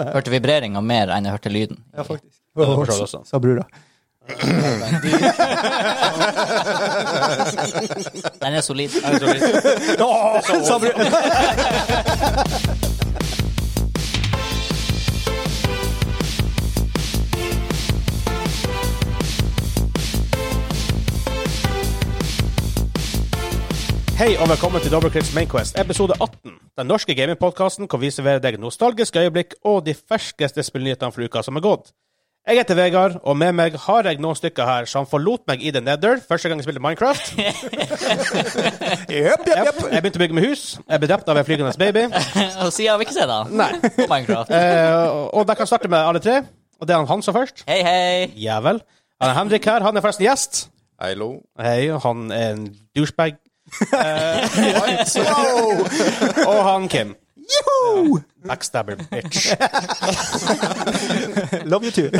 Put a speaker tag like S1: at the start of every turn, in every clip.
S1: Hørte vibreringa mer enn jeg hørte lyden.
S2: Ja, faktisk.
S3: det forstår jeg også.
S2: Sa brura.
S1: Den er solid.
S2: Sa brura.
S3: Hei og velkommen til Dobbeltkrigs Mainquest, episode 18. Den norske gamingpodkasten hvor vi serverer deg nostalgiske øyeblikk og de ferskeste spillnyhetene for uka som er gått. Jeg heter Vegard, og med meg har jeg noen stykker her som forlot meg i The Nether første gang jeg spilte Minecraft.
S2: Jepp, jepp,
S3: Jeg
S2: jepp.
S3: begynte å bygge meg hus. Jeg ble drept av en flygende baby.
S1: Og siden har vi ikke sett den. På Minecraft.
S3: Eh, og dere kan starte med alle tre. Og det er han Hansa først.
S1: Hei, hei.
S3: Jævel. Han er Henrik her. Han er forresten gjest.
S4: Hallo.
S3: Hei, han er en douchebag. Eh,
S2: Wow.
S3: Og han Kim. Ja, Backstabber, bitch.
S2: Love you too.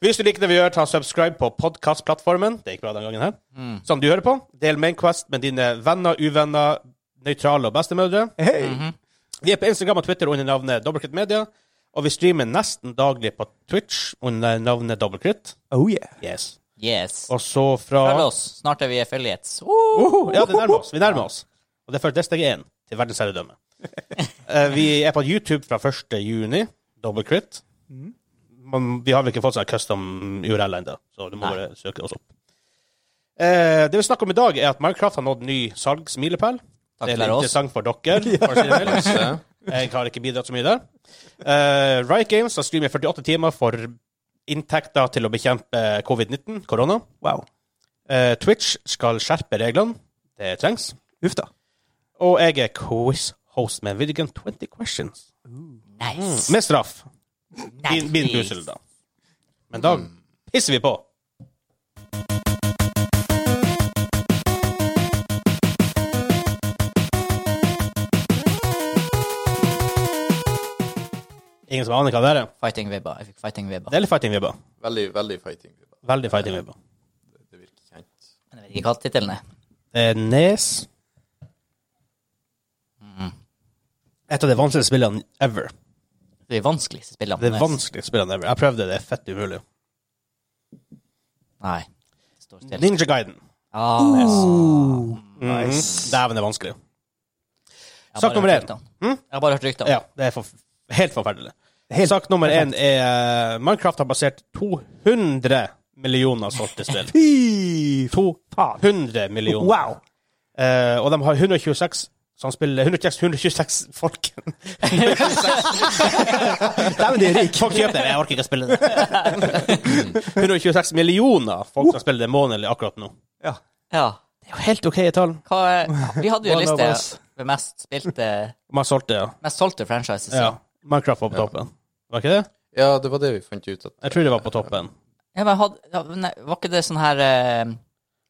S3: Hvis du liker det vi gjør, ta subscribe på podkastplattformen. Det gikk bra den gangen her. Som du hører på. Del Mainquest med dine venner, uvenner, nøytrale og bestemødre.
S2: Hei.
S3: Vi er på Instagram og Twitter under navnet Dobbeltkritt Media. Og vi streamer nesten daglig på Twitch under navnet Dobbeltkritt.
S2: Oh yeah.
S3: Yes.
S1: Yes.
S3: Og så
S1: Følg
S3: fra
S1: oss. Snart er vi affiliates. Woo!
S3: Oho, Ja, det nærmer oss. Vi nærmer oss. Og det er først det er steg én til verdensherredømme. Eh, vi er på YouTube fra 1. juni. Double crit. Men vi har vel ikke fått sånn custom URL ennå, så du må
S1: Nei.
S3: bare søke oss opp. Eh, det vi snakker om i dag, er at Minecraft har nådd ny salgsmilepæl. Det er
S1: for
S3: litt
S1: oss.
S3: interessant for dere. For å si det mildt. Jeg har ikke bidratt så mye der. Eh, Riot Games har streamet 48 timer for inntekter til å bekjempe covid-19, korona.
S2: Wow.
S3: Eh, Twitch skal skjerpe reglene. Det trengs.
S2: Uff da.
S3: Og jeg er quiz-host med Vidgen 20 questions.
S1: Nice.
S3: Med straff.
S1: nice.
S3: Mm. Min, min pussel, da. Men da pisser vi på. Ingen som aner hva det er?
S1: Fighting-vibba. Jeg fikk fighting-vibba.
S3: Det er litt fighting-vibber.
S4: Veldig, veldig fighting.
S3: Veldig fighting-vibber.
S4: Det virker kjent.
S1: Men Jeg vet ikke hva tittelen er.
S3: Det er Nes. Et av de vanskeligste spillene ever.
S1: Det er vanskelig å spille.
S3: Det vanskeligste spillene ever. Jeg prøvde det. Fett umulig.
S1: Nei. Det Står stille.
S3: Ninja Guiden.
S1: Ah, det er så-
S3: Nice. Dæven, det er vanskelig.
S1: Jeg har
S3: Sak
S1: bare
S3: nummer
S1: hørt
S3: én.
S1: rykter om. Jeg har bare hørt rykter om
S3: Hm? Ja, det er for, helt forferdelig. Sak nummer én er eh, Minecraft har basert 200 millioner solgte spill.
S2: Fy f-
S3: 200 millioner.
S2: Wow.
S3: Eh, og eh, de har 126 som spiller 126, 126 folk.
S2: Dæven, det er rik.
S3: Folk kjøper det, jeg orker ikke å spille det. 126 millioner folk som spiller det månedlig akkurat nå.
S2: Ja.
S1: Ja.
S3: Det er jo helt OK tall.
S1: Hva er, vi hadde jo en
S2: One of
S1: liste
S2: us.
S1: med mest spilte
S3: Man solgte, ja.
S1: Mest solgte franchises.
S3: ja. Minecraft var på toppen. Var ikke det?
S4: Ja, det var det vi fant ut. at
S3: Jeg tror det var på toppen.
S1: Ja, men hadde, ja, men nei, var ikke det sånn her eh,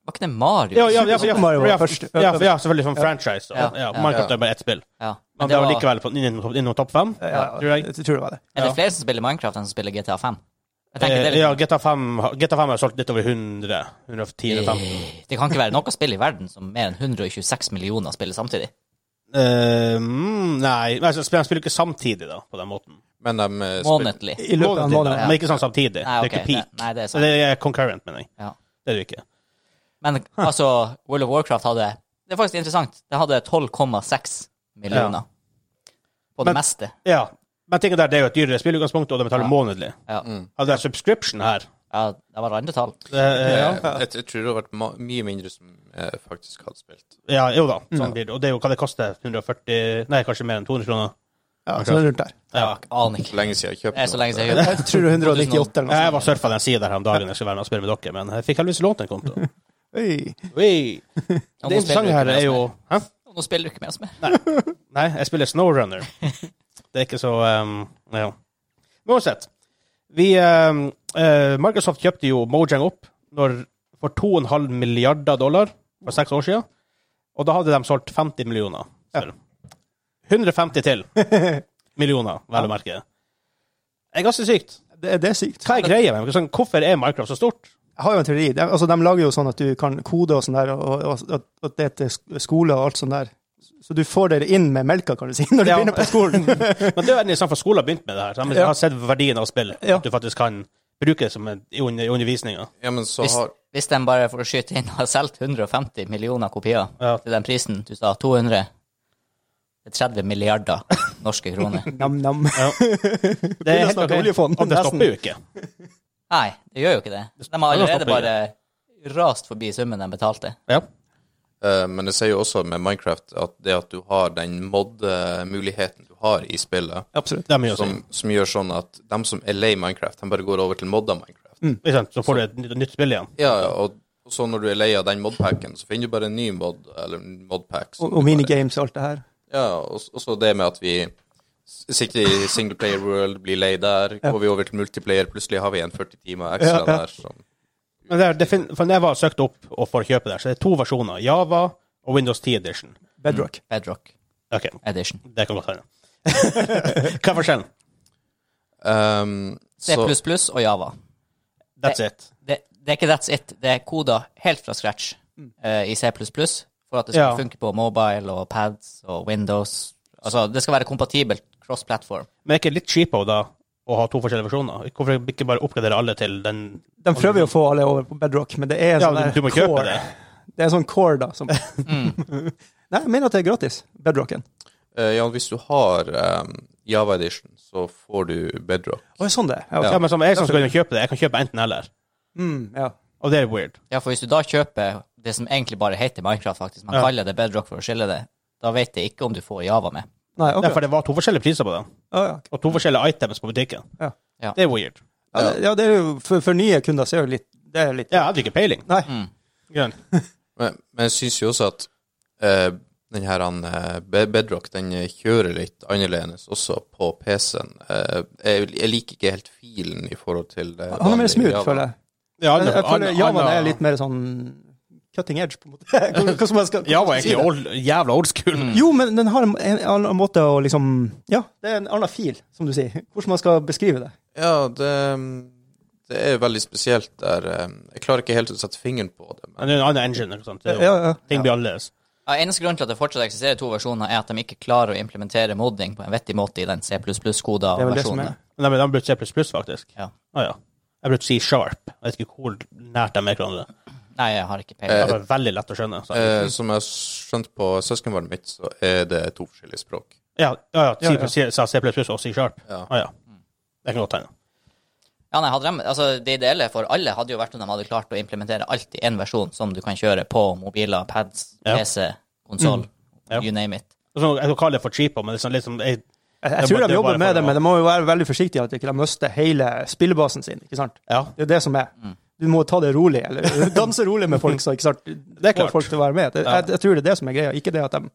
S1: Var ikke det Mario?
S3: Ja, ja, ja,
S2: Super Mario var
S3: ja,
S2: først.
S3: ja, ja, ja selvfølgelig som franchise. Og,
S1: Ja,
S3: ja,
S1: ja.
S3: Minecraft
S4: Ja.
S3: er bare ett spill.
S1: Ja,
S3: Men
S1: Men
S3: det
S1: det
S3: var
S1: var,
S3: likevel på, innom, innom topp fem.
S2: Ja, ja,
S3: Tror jeg.
S2: jeg tror det var det.
S1: er det
S3: ja.
S1: flere som spiller Minecraft enn som spiller GTA 5? Jeg tenker det,
S3: Eh,
S1: er litt-
S3: ja, GTA 5, har- GTA 5 har solgt litt over 100. 110-115.
S1: det kan ikke være noe spill i verden som mer enn 126 millioner spiller samtidig.
S3: Eh, mm, nei, altså, spiller- spiller ikke samtidig, da, på den måten.
S4: Men de eh, spil-
S1: Månedlig.
S2: I løpet av en måned.
S3: Men ikke sånn samtidig.
S1: Nei,
S3: Det er
S1: ok,
S3: ikke peak.
S1: det- nei, det er
S3: Så
S1: sant.
S3: det er concurrent, mener jeg.
S1: Ja.
S3: Det er det ikke.
S1: Men altså, World of Warcraft hadde Det er faktisk interessant. Det hadde 12,6 millioner. På det
S3: Men-
S1: meste.
S3: Ja. Men tingen der, det er jo et dyrere spill i utgangspunktet, og de betaler
S1: Ja.
S3: månedlig.
S1: Ja.
S3: Hadde jeg subscription her
S1: ja, det var andre tall.
S3: det, eh,
S4: Eh, Jeg, jeg tror det har vært ma mye mindre som jeg faktisk hadde spilt.
S3: Ja, jo da. Sånn blir det. Og det er jo hva det koster. 140 Nei, kanskje mer enn 200 kroner.
S2: Ja, sånn rundt der.
S3: Ja.
S1: Aner ikke.
S4: Lenge siden jeg kjøpte
S1: Det er så lenge siden jeg
S2: Jeg tror det er 198 eller noe
S3: Jeg var surfa den sida der her om dagen jeg skulle være med og spille med dere, men jeg fikk heldigvis lånt en konto.
S2: sånt. Oi.
S3: Oi.
S1: Ja, nå
S3: Det
S1: spiller du
S3: interessante
S1: ikke
S3: her
S1: med
S3: er jo
S1: oss
S3: Hæ?
S1: mer. Nå spiller du ikke med oss mer.
S3: Nei, jeg spiller Snowrunner. Det er ikke så um, Ja. Men uansett. Vi, um, eh, Microsoft kjøpte jo Mojang opp når, for 2,5 milliarder dollar for seks år siden. Og da hadde de solgt 50 millioner. ser du. 150 til millioner, vel å merke. Det er ganske sykt.
S2: Det, det er sykt.
S3: Hva er greia med det? Sånn, Hvorfor er Minecraft så stort?
S2: Jeg har jo en teori. De, altså, de lager jo sånn at du kan kode og sånn der, og, og, og at det er til sk- skole og alt sånn der. Så du får dere inn med melka, kan du si, når du
S3: Ja.
S2: begynner på skolen.
S3: Men det er jo en sånn for skolen har begynt med det her. så De
S2: Ja.
S3: har sett verdien av spill.
S2: Ja.
S3: At du faktisk kan bruke det som en, i under- i undervisninga.
S4: Ja, men så
S1: Hvis,
S4: har
S1: hvis de bare for å skyte inn har solgt 150 millioner kopier
S3: Ja.
S1: til den prisen du sa, 200 Det er 30 milliarder norske kroner.
S2: Nam-nam.
S3: Det er helt
S2: snakke
S3: ok.
S2: oljefond,
S3: Og det
S2: nesten.
S3: stopper jo ikke.
S1: Nei, det gjør jo ikke det. De har
S3: Det er
S1: allerede
S3: stoppet,
S1: bare rast forbi summen de betalte.
S3: Ja.
S4: Eh, Men det sier jo også med Minecraft at det at du har den mod-muligheten du har i spillet,
S2: Absolutt.
S3: Det er mye å si.
S4: som, som gjør sånn at dem som er lei Minecraft, de bare går over til modda Minecraft.
S1: Mm.
S3: Ikke sant? Så får du et nytt, nytt spill igjen.
S4: Ja, ja, og og så når du er lei av den modpacken, så finner du bare en ny mod, eller en modpack. som
S2: Og,
S4: du
S2: og
S4: bare-
S2: minigames og alt det her.
S4: Ja, og s- og så det med at vi s- sitter i single player world, blir lei der, går vi over til multiplayer, plutselig har vi en 40 timer ekstra
S2: Ja, ja.
S4: der. Som,
S3: Men det er, det fin, for når jeg var søkt opp og for å kjøpe der, så det er to versjoner. Java og Windows 10 Edition.
S2: Bedrock.
S1: Bedrock
S3: Ok,
S1: Edition.
S3: det kan godt hende. Hva er forskjellen?
S4: Ehm,
S1: C++
S4: så,
S1: og Java.
S3: That's it.
S1: Det, det er ikke that's it. Det er koder helt fra scratch eh, i C++ for at det skal
S3: Ja.
S1: funke på mobile og pads og Windows. Altså, det skal være kompatibelt cross-platform.
S3: Men er ikke litt cheapo da å ha to forskjellige versjoner? Hvorfor ikke bare oppgradere alle til den
S2: De prøver jo å få alle over på Bedrock, men det er en
S3: Ja,
S2: sånn
S3: du,
S2: der
S3: du må kjøpe
S2: core.
S3: det.
S2: Det er en sånn core, da. Som...
S1: Mm.
S2: Nei, jeg mener at det er gratis. Bedrocken.
S4: eh, ja, hvis du har ehm, Java Edition, så får du Bedrock.
S2: Å, er sånn det er? Ja,
S3: Ja,
S2: ok.
S3: men som jeg som skal inn og kjøpe det, jeg kan kjøpe enten eller.
S2: Mm, ja.
S3: Og det er weird.
S1: Ja, for hvis du da kjøper det som egentlig bare heter Minecraft, faktisk, man
S3: Ja.
S1: kaller det Bedrock for å skille det, da vet jeg ikke om du får Java med.
S2: Nei, ok.
S3: Ja, for det var to forskjellige priser på den,
S2: Å, ja, ok.
S3: og to forskjellige items på butikken.
S2: Ja.
S1: Ja.
S3: Det er weird.
S2: ja, det, ja, det er jo for, for nye kunder så er det jo litt Det er litt
S3: Ja, jeg hadde ikke peiling.
S2: Nei.
S1: Mm.
S3: Grønn.
S4: Men, men jeg syns jo også at eh, den her han, eh, Be- Bedrock den eh, kjører litt annerledes også på PC-en. Eh, jeg, jeg liker ikke helt filen i forhold til eh, det.
S2: Han er mer smooth, føler jeg.
S3: Ja,
S2: Jeg, jeg føler
S3: Anna-
S2: Javaen
S3: Anna-
S2: er litt mer sånn cutting edge, på en måte. Hvordan skal man skal
S3: Java er
S2: si
S3: egentlig
S2: det?
S3: old, jævla old school.
S1: Mm.
S2: Jo, men den har en, en annen måte å liksom Ja, det er en annen fil, som du sier. Hvordan man skal beskrive det.
S4: Ja, det, det er veldig spesielt der. eh, Jeg klarer ikke helt å sette fingeren på det. Men
S3: Men det er en annen engine, ikke sant. Det er jo,
S2: Ja, ja.
S3: Ting blir annerledes.
S1: Ja, eneste grunn til at det fortsatt eksisterer to versjoner, er at de ikke klarer å implementere modding på en vettig måte i den C++-koda
S2: Det er vel det som
S1: versjonen.
S2: er
S3: Men de, de brukte C++, faktisk.
S1: Ja.
S3: Ah, ja. Jeg brukte C-sharp. Jeg vet ikke hvor nært de er hverandre.
S1: Nei, jeg har ikke
S3: Det
S1: peiling.
S3: var veldig lett å skjønne. Så.
S4: eh, som jeg har skjønt på søskenbarnet mitt, så er det to forskjellige språk.
S3: Ja, ja, ja,
S2: Ja, ja.
S3: C++, sa C++ og C-sharp.
S4: Ja.
S3: Ah, ja.
S1: Mm.
S3: Det kan godt hende.
S1: Ja, nei, hadde de, altså, det ideelle for alle hadde jo vært om de hadde klart å implementere alt i én versjon som du kan kjøre på mobiler, pads,
S3: Ja.
S1: PC,
S2: Mm.
S1: konsoll,
S3: Ja.
S1: you name it.
S3: Så, jeg skal kalle det for cheapo, men det er sånn, liksom, jeg,
S2: Jeg,
S3: Det er
S2: jeg tror
S3: bare- det
S2: de
S3: er
S2: jobber
S3: bare for
S2: med det,
S3: å-
S2: men de må jo være veldig forsiktige at de ikke mister hele spillebasen sin. ikke sant?
S3: ja.
S2: Det er det som er.
S3: Mm.
S2: Du må ta det rolig, eller danse rolig med folk, så ikke sant?
S3: er klart.
S2: Få folk til å være med. Det,
S3: Ja.
S2: jeg, jeg tror det er det som er greia, ikke det at de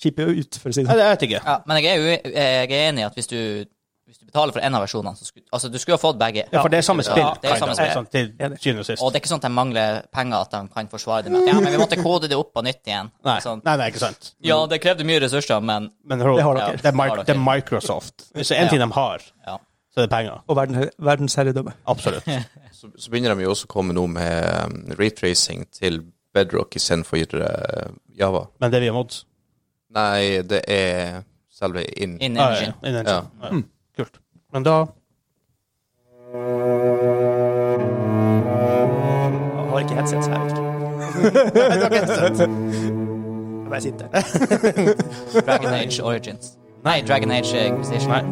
S2: kipper ut, for å si det
S3: Nei,
S2: sånn.
S3: det- jeg vet ikke.
S1: Ja, men jeg er, ue- jeg er enig i at hvis du, hvis du betaler for én av versjonene, så skulle altså, du skulle ha fått begge.
S3: Ja, for det er samme spill,
S1: det er
S3: kind
S1: samme
S3: of,
S1: spill.
S3: sånn, til
S2: Enig.
S3: syvende og sist.
S1: Og det er ikke sånn at de mangler penger at de kan forsvare det med at ja, men vi måtte kode det opp på nytt igjen.
S3: Nei.
S1: Sånn.
S3: nei, nei, ikke sant.
S1: Ja, det krevde mye ressurser, men
S3: Men hør,
S2: Det har
S1: dere.
S3: Det er,
S1: Det har
S3: mi-
S1: dere.
S3: det er Microsoft. Hvis det er én ting de har,
S1: ja.
S3: så er det penger.
S2: Og verden, verdensherredømme.
S3: Absolutt.
S4: Så, så begynner de jo også å komme nå med um, retracing til Bedrock istedenfor uh, Java.
S3: Men det er via mods.
S4: Nei, det er selve in.
S1: In
S3: Ja, ja,
S1: Engine.
S3: ja, in engine.
S4: Ja.
S3: Ja.
S2: Mm.
S3: Kult. Men da
S2: Jeg har ikke headset, så jeg vet ikke. Jeg bare sitter.
S1: Dragon Age Origins. Nei, Dragon Age Inquisition.
S3: Nei.
S1: Hæ?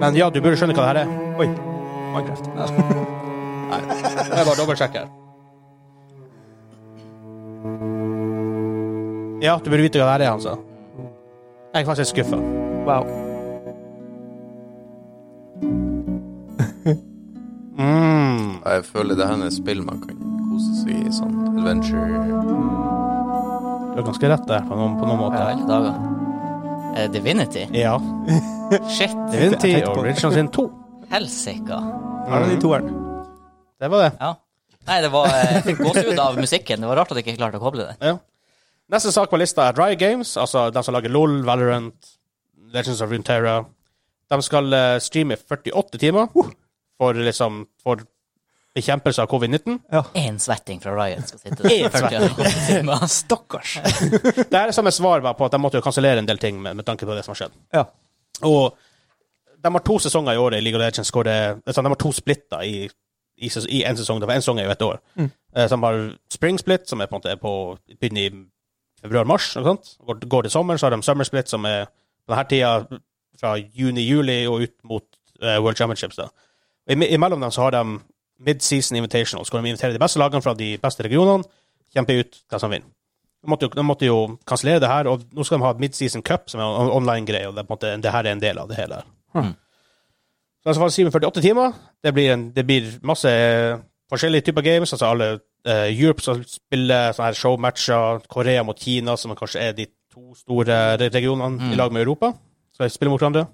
S3: Men ja, du burde skjønne hva det her er.
S2: Oi. Minecraft. Ja.
S3: Jeg bare dobbeltsjekker. Ja, du burde vite hva det her er, han sa. Jeg er faktisk skuffa.
S2: Wow.
S3: Mm.
S4: Jeg føler det her er et spill man kan kose seg i, sånn adventure.
S3: Du har ganske rett der, på noen, på noen
S1: Ja,
S3: måte.
S1: alle dager. Eh, Divinity?
S3: Ja.
S1: Shit.
S3: Divinity
S2: Jeg tenkte på det.
S3: Original Sin 2.
S1: Helsika.
S2: Her er de toeren.
S3: Det var det.
S1: Ja. Nei, det var eh, Jeg fikk gåsehud av musikken. Det var rart at jeg ikke klarte å koble det.
S3: Ja. Neste sak på lista er Riot Games, altså de som lager LOL, Valorant, Legends of Runeterra. De skal eh, streame 48 timer for liksom for bekjempelse av covid-19.
S1: Én svetting fra Riot skal sitte der.
S3: En svetting.
S1: 40 timer. Stakkars.
S3: Det er som et svar bare på at de måtte jo kansellere en del ting med, med tanke på det som har skjedd.
S2: Ja.
S3: Og de har to sesonger i året i League of Legends hvor det altså, De har to splitter i, i, ses- i en sesong. For en sesong er jo et år.
S2: Mm.
S3: Eh, så de har spring split, som er på en måte på, begynner i februar-mars. noe sånt. Går, går til sommeren, så har de summer split, som er på denne tida fra juni-juli og ut mot eh, World Championships. da. Og im- Imellom dem så har de mid-season invitationals, hvor de inviterer de beste lagene fra de beste regionene, kjemper ut hvem som vinner. De måtte, jo, de måtte jo kansellere det her, og nå skal de ha et midseason cup, som er en on- online-greie, og det, er på en måte, det her er en del av det hele. her.
S1: Hmm.
S3: Så altså, for Simen 48 timer, det blir, en, det blir masse eh, forskjellige typer games, altså alle eh, Europe som spiller sånne her showmatcher, Korea mot Kina, som kanskje er de to store re- regionene
S1: Hmm.
S3: i lag med Europa, skal spille mot hverandre.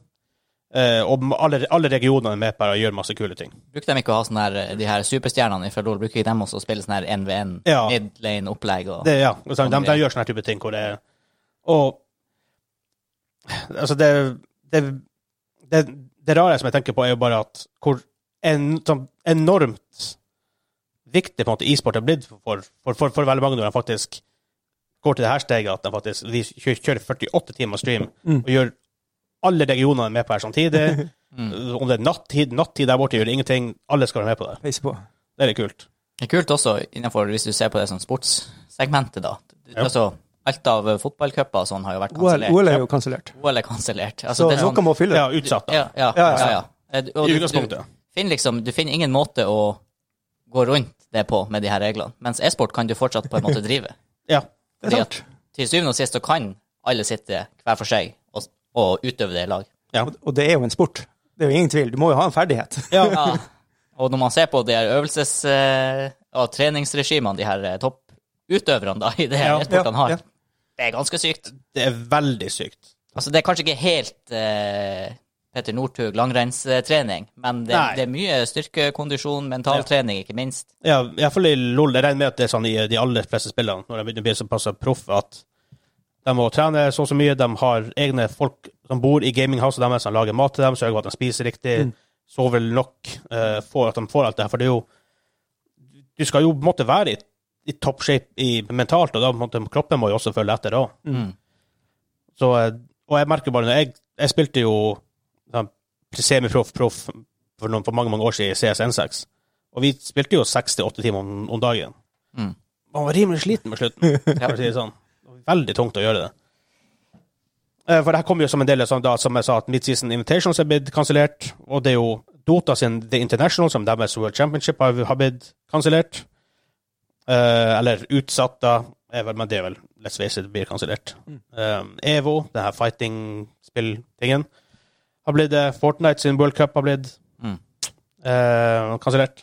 S3: Eh, og alle, alle regionene er med på å gjøre masse kule ting.
S1: Bruker de ikke å ha sånne her, eh, de her superstjernene fra LOL? Bruker ikke dem også å spille sånn her 1v1,
S3: Ja.
S1: midlane-opplegg og
S3: Det, ja, og så de, de gjør sånne her type ting hvor det Og Altså, det Det, det, det rare som jeg tenker på, er jo bare at hvor en, sånn enormt viktig på en måte e-sport har blitt for, for, for, for veldig mange når de faktisk går til det her steget at de faktisk de kjø- kjører 48 timer stream
S2: Mm.
S3: og gjør alle regionene med på her samtidig. Mm. Om det er nattid, nattid der borte gjør det ingenting. Alle skal være med på det.
S2: Peiser på.
S3: Det er litt kult.
S1: Det er kult også, innenfor, hvis du ser på det sånn sportssegmentet, da.
S3: Ja.
S1: Altså, alt av eh, fotballcuper og sånn har jo vært
S2: OL,
S1: kansellert.
S2: OL er jo kansellert.
S1: OL er kansellert. Altså,
S2: Så
S1: det er
S2: noe
S1: sånn,
S2: må fylle.
S3: Ja, utsatt, da.
S1: ja, ja, ja,
S2: Ja, ja.
S1: ja. Eh, du- og
S3: I
S1: du-
S3: utgangspunktet.
S1: Du finner liksom, du finner ingen måte å gå rundt det på med de her reglene. Mens e-sport kan du fortsatt på en måte drive.
S3: Ja.
S2: Det er
S1: Fordi
S2: sant.
S1: at til syvende og sist så kan alle sitte hver for seg og, og utøve det i lag.
S3: ja.
S2: Og det er jo en sport. Det er jo ingen tvil. Du må jo ha en ferdighet.
S3: ja.
S1: Ja. Og når man ser på de her øvelses- eh, og treningsregimene de her eh, topputøverne da, i det her
S3: Ja,
S1: e-sportene har,
S2: ja.
S1: det er ganske sykt.
S3: Det er veldig sykt.
S1: Altså, det er kanskje ikke helt eh, Petter Northug langrennstrening, men det,
S3: Nei.
S1: det er mye styrkekondisjon, mentaltrening, ikke minst.
S3: Ja, iallfall i LOL. Jeg regner med at det er sånn i de aller fleste spillene, når de begynner å bli såpass proff at de må trene så og så mye, de har egne folk som bor i gaminghuset deres, som lager mat til dem, sørger for at de spiser riktig, sover nok, eh, får at de får alt det her. For det er jo Du skal jo måtte være i, i top shape i, mentalt, og da måtte, kroppen må jo også følge etter da.
S1: Mm.
S3: Så, eh, og jeg merker bare når jeg, jeg spilte jo ja, semiproff-proff for, noen- for mange mange år siden i CSN6, og vi spilte jo seks til åtte timer om, om dagen.
S1: Mm.
S3: Man var rimelig sliten på slutten, for å si det sånn. Det var Veldig tungt å gjøre det. Eh, For det her kom jo som en del av sånn, da, som jeg sa, at Midseason Invitations er blitt kansellert, og det er jo Dota sin The International, som deres World Championship har, har blitt kansellert. Eh, eller utsatt, da. Er vel, men det er vel Let's face it, blir kansellert.
S1: Mm.
S3: Um, EVO, det her fighting-spill-tingen, har blitt det. Fortnite sin World Cup har blitt
S1: Mm.
S3: eh, kansellert.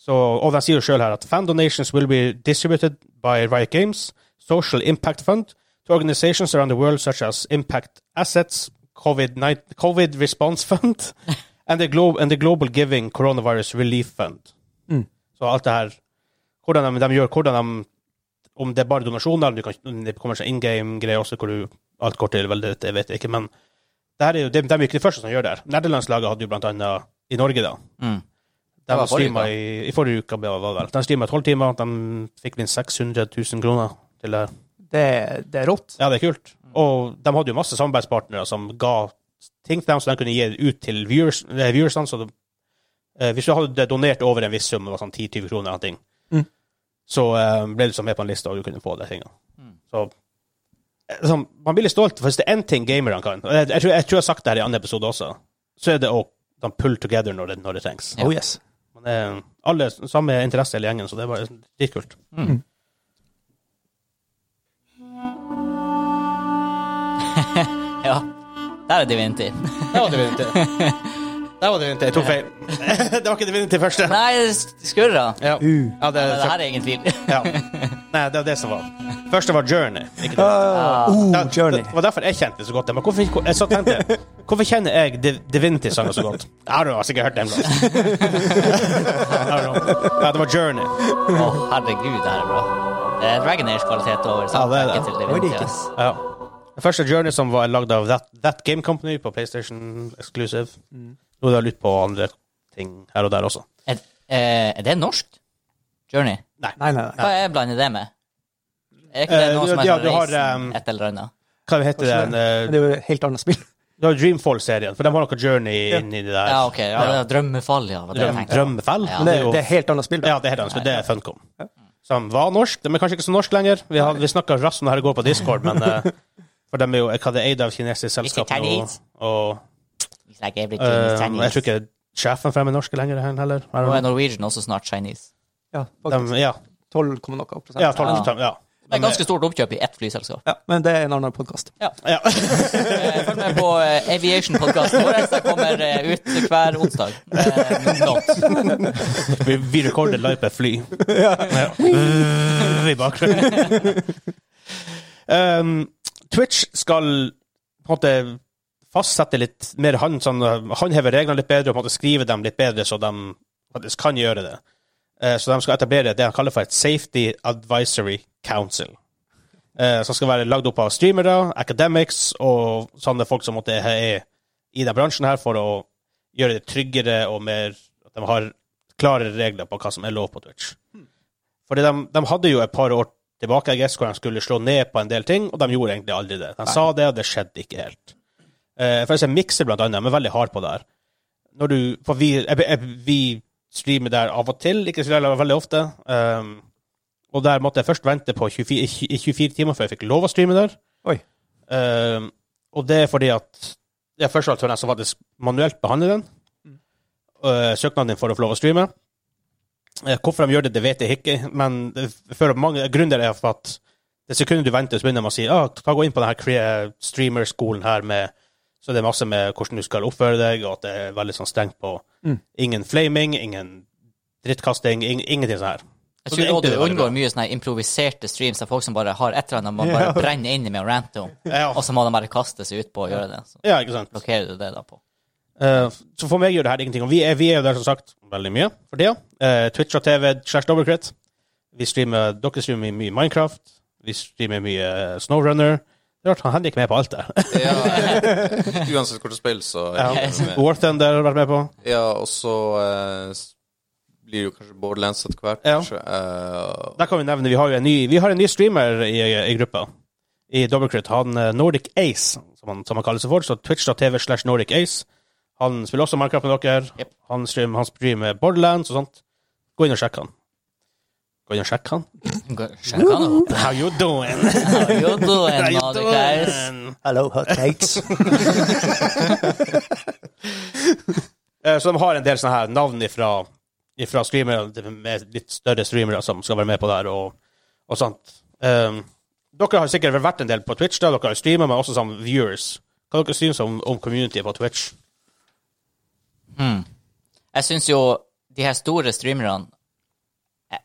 S3: Så, og de sier jo sjøl her at fan donations will be distributed by Riot Games, Social Impact Fund, to organizations around the world such as Impact Assets, COVID, COVID Response Fund and the, Glo and the Global Giving Coronavirus Relief Fund.
S2: Mm.
S3: Så alt det her Hvordan de, de gjør hvordan de om det er bare donasjoner, eller du kan, om det kommer sånn in game-greier også, hvor du, alt går til veldig, det vet jeg ikke, men det her er jo, de, de er jo ikke de første som gjør det her. Nederlandslaget hadde jo blant annet i Norge, da.
S1: Mm.
S3: De
S1: Det var forrige
S3: streama i, i forrige uke, var det vel. De streama tolv timer, de fikk inn 600 000 kroner til det. her.
S2: Det, det er rått.
S3: Ja, det er kult. Og de hadde jo masse samarbeidspartnere som ga ting til dem, så de kunne gi ut til viewers, eh, viewersene. Så de, eh, hvis du hadde donert over en viss sum, det var sånn 10-20 kroner, eller ting,
S2: Mm.
S3: så eh, ble du så med på en liste, og du kunne få de tingene.
S1: Mm.
S3: Så, eh, sånn, man blir litt stolt, for hvis det er én ting gamerne kan og jeg, jeg, tror, jeg tror jeg har sagt det her i andre episode også, så er det å sånn, pull together når det, når det trengs.
S1: Ja.
S2: Oh yes.
S3: Man er alle samme interesse i hele gjengen, så det er bare dritkult.
S1: Ja. Der er Divinity.
S3: Der var det vinter. Der var det vinter. Jeg tok feil. det var ikke det vinter første.
S1: Nei, skurra.
S3: Ja.
S2: Uh.
S3: Ja, det,
S1: Det her er ingen tvil.
S3: ja. Nei, det var det som var. Første var Journey. Ikke det.
S2: Ah,
S3: Ja,
S2: oh,
S3: det
S2: journey.
S3: det var derfor jeg kjente det så godt. Men hvorfor, jeg så tenkte, jeg, hvorfor kjenner jeg Div- Divinity-sanger så godt? Ja, du har sikkert hørt den. da. I don't know. Ja, det var Journey.
S1: Å, herregud, det her er bra. Det er Dragon Age-kvalitet over
S3: det er det.
S1: soundtracket til
S2: Oi,
S1: Divinity.
S2: det er ikke-
S1: ass.
S3: Ja. Den første Journey som var lagd av That, That Game Company på PlayStation Exclusive. Nå er det lurt på andre ting her og der også.
S1: Er, Eh, er det norsk? Journey?
S2: Nei, nei, nei.
S1: Hva er blander det med? Er ikke det
S3: Eh,
S1: noe som
S3: ja,
S1: heter
S3: du har,
S1: Racing
S3: ehm,
S1: et eller annet?
S3: Hva heter den?
S2: Men
S3: eh,
S2: Det er jo et helt annet spill.
S3: Det var Dreamfall-serien, for de har noe Journey inni det der.
S1: Ja, ok. Ja, det er drømmefall, ja. Var det jeg
S3: Drøm,
S1: tenkte.
S3: drømmefell?
S1: Ja.
S2: Men det, det er et helt annet spill. Da.
S3: Ja, det er helt annet. så Det er Funcom. Som var norsk. De er kanskje ikke så norsk lenger. Vi, har- vi snakka raskt om det her i går på Discord, men eh, For de er jo hva det er eid av kinesisk selskap nå.
S1: Chinese.
S3: Og
S1: It's like everything
S3: eh,
S1: is
S3: jeg tror
S1: Chinese.
S3: ikke sjefen for dem er norske lenger heller. I
S1: Nå
S3: don't
S1: er Norwegian også snart Chinese.
S2: Ja,
S3: know.
S2: faktisk.
S3: De, ja,
S2: 12, noe prosent.
S3: ja, 12, ja.
S1: Ah. Det er
S3: eh,
S1: ganske stort oppkjøp i ett flyselskap.
S2: Ja, men det er en annen podkast.
S3: ja.
S1: Eh, Følg med på eh, Aviation-podkasten vår. Den kommer eh, ut hver onsdag. Eh, Not.
S3: Vi, vi recorder live på et fly. Ja. I bakgrunnen. um, Twitch skal på en måte fastsette litt mer hånd, sånn, uh, håndheve reglene litt bedre og på en måte skrive dem litt bedre, så de faktisk kan gjøre det. Eh, så de skal etablere det de kaller for et Safety Advisory Council. eh, som skal være lagd opp av streamere, academics og sånne folk som måtte er i den bransjen her, for å gjøre det tryggere og mer At de har klare regler på hva som er lov på Twitch. Fordi de, de hadde jo et par år tilbake jeg guess, hvor de skulle slå ned på en del ting, og de gjorde egentlig aldri det. De sa det, og det skjedde ikke helt. Uh, for jeg ser Mixer blant annet, de er veldig hard på det her. Når du, for vi, jeg, jeg, vi streamer der av og til, ikke så veldig- veldig ofte. Um, og der måtte jeg først vente på 24, i 24 timer før jeg fikk lov å streame der.
S2: Oi.
S3: Um, og det er fordi at det er først og sånn fremst som faktisk manuelt behandler den.
S2: Mm.
S3: Uh, søknaden din for å få lov å streame. Eh, Hvorfor de gjør det, det vet jeg ikke, men det- for mange grunner er for at det sekundet du venter, så begynner de å si ah, ta gå inn på denne crea- streamerskolen her med så det er masse med hvordan du skal oppføre deg, og at det er veldig sånn strengt på
S2: Mm.
S3: ingen flaming, ingen drittkasting, ing, ingenting sånn her.
S1: Jeg
S3: Så
S1: tror
S3: det
S1: også
S3: er egentlig
S1: du
S3: veldig bra.
S1: unngår mye sånne her improviserte streams av folk som bare har et eller annet man
S2: Ja.
S1: bare brenner inn i med å rante om,
S3: Ja,
S1: og så må de bare kaste seg ut på å gjøre det. Så
S3: ja ikke sant.
S1: blokkerer du det da på.
S3: Eh, så for meg gjør det her ingenting. Og vi er, vi er jo der, som sagt, veldig mye for tida. Eh, Twitch og TV slash Doublecrit. Vi streamer, dere streamer mye Minecraft. Vi streamer mye eh, Snowrunner. Det er rart han Henrik er med på alt det.
S4: Ja, uansett hvor du spiller, så er
S3: Ja.
S4: jeg med.
S3: War Thunder har vært med på.
S4: Ja, og så eh, s- blir jo kanskje Borderlands etter hvert.
S3: Ja.
S4: kanskje. Eh,
S3: Der kan vi nevne, vi har jo en ny, vi har en ny streamer i, i gruppa, i Doublecrit. Han eh, Nordic Ace, som han, som han kaller seg for, så twitch.tv slash Nordic Ace. Han spiller også Minecraft med dere.
S1: Jep.
S3: Han, stream, han streamer Borderlands og sånt. Gå inn og sjekk han. Gå inn og sjekk han.
S1: Skjønner hva nå?
S3: How you doing?
S1: How you doing,
S3: How you
S1: Nordic guys?
S3: doing?
S2: Hello, hot takes.
S3: Eh, Så de har en del sånne her navn ifra, ifra streamere, med litt større streamere som skal være med på det her, og, og sånt. Um, dere har sikkert vært en del på Twitch, da. dere har streamet, men også som viewers. Hva dere synes om, om communityet på Twitch?
S1: Hmm. Jeg syns jo de her store streamerne eh,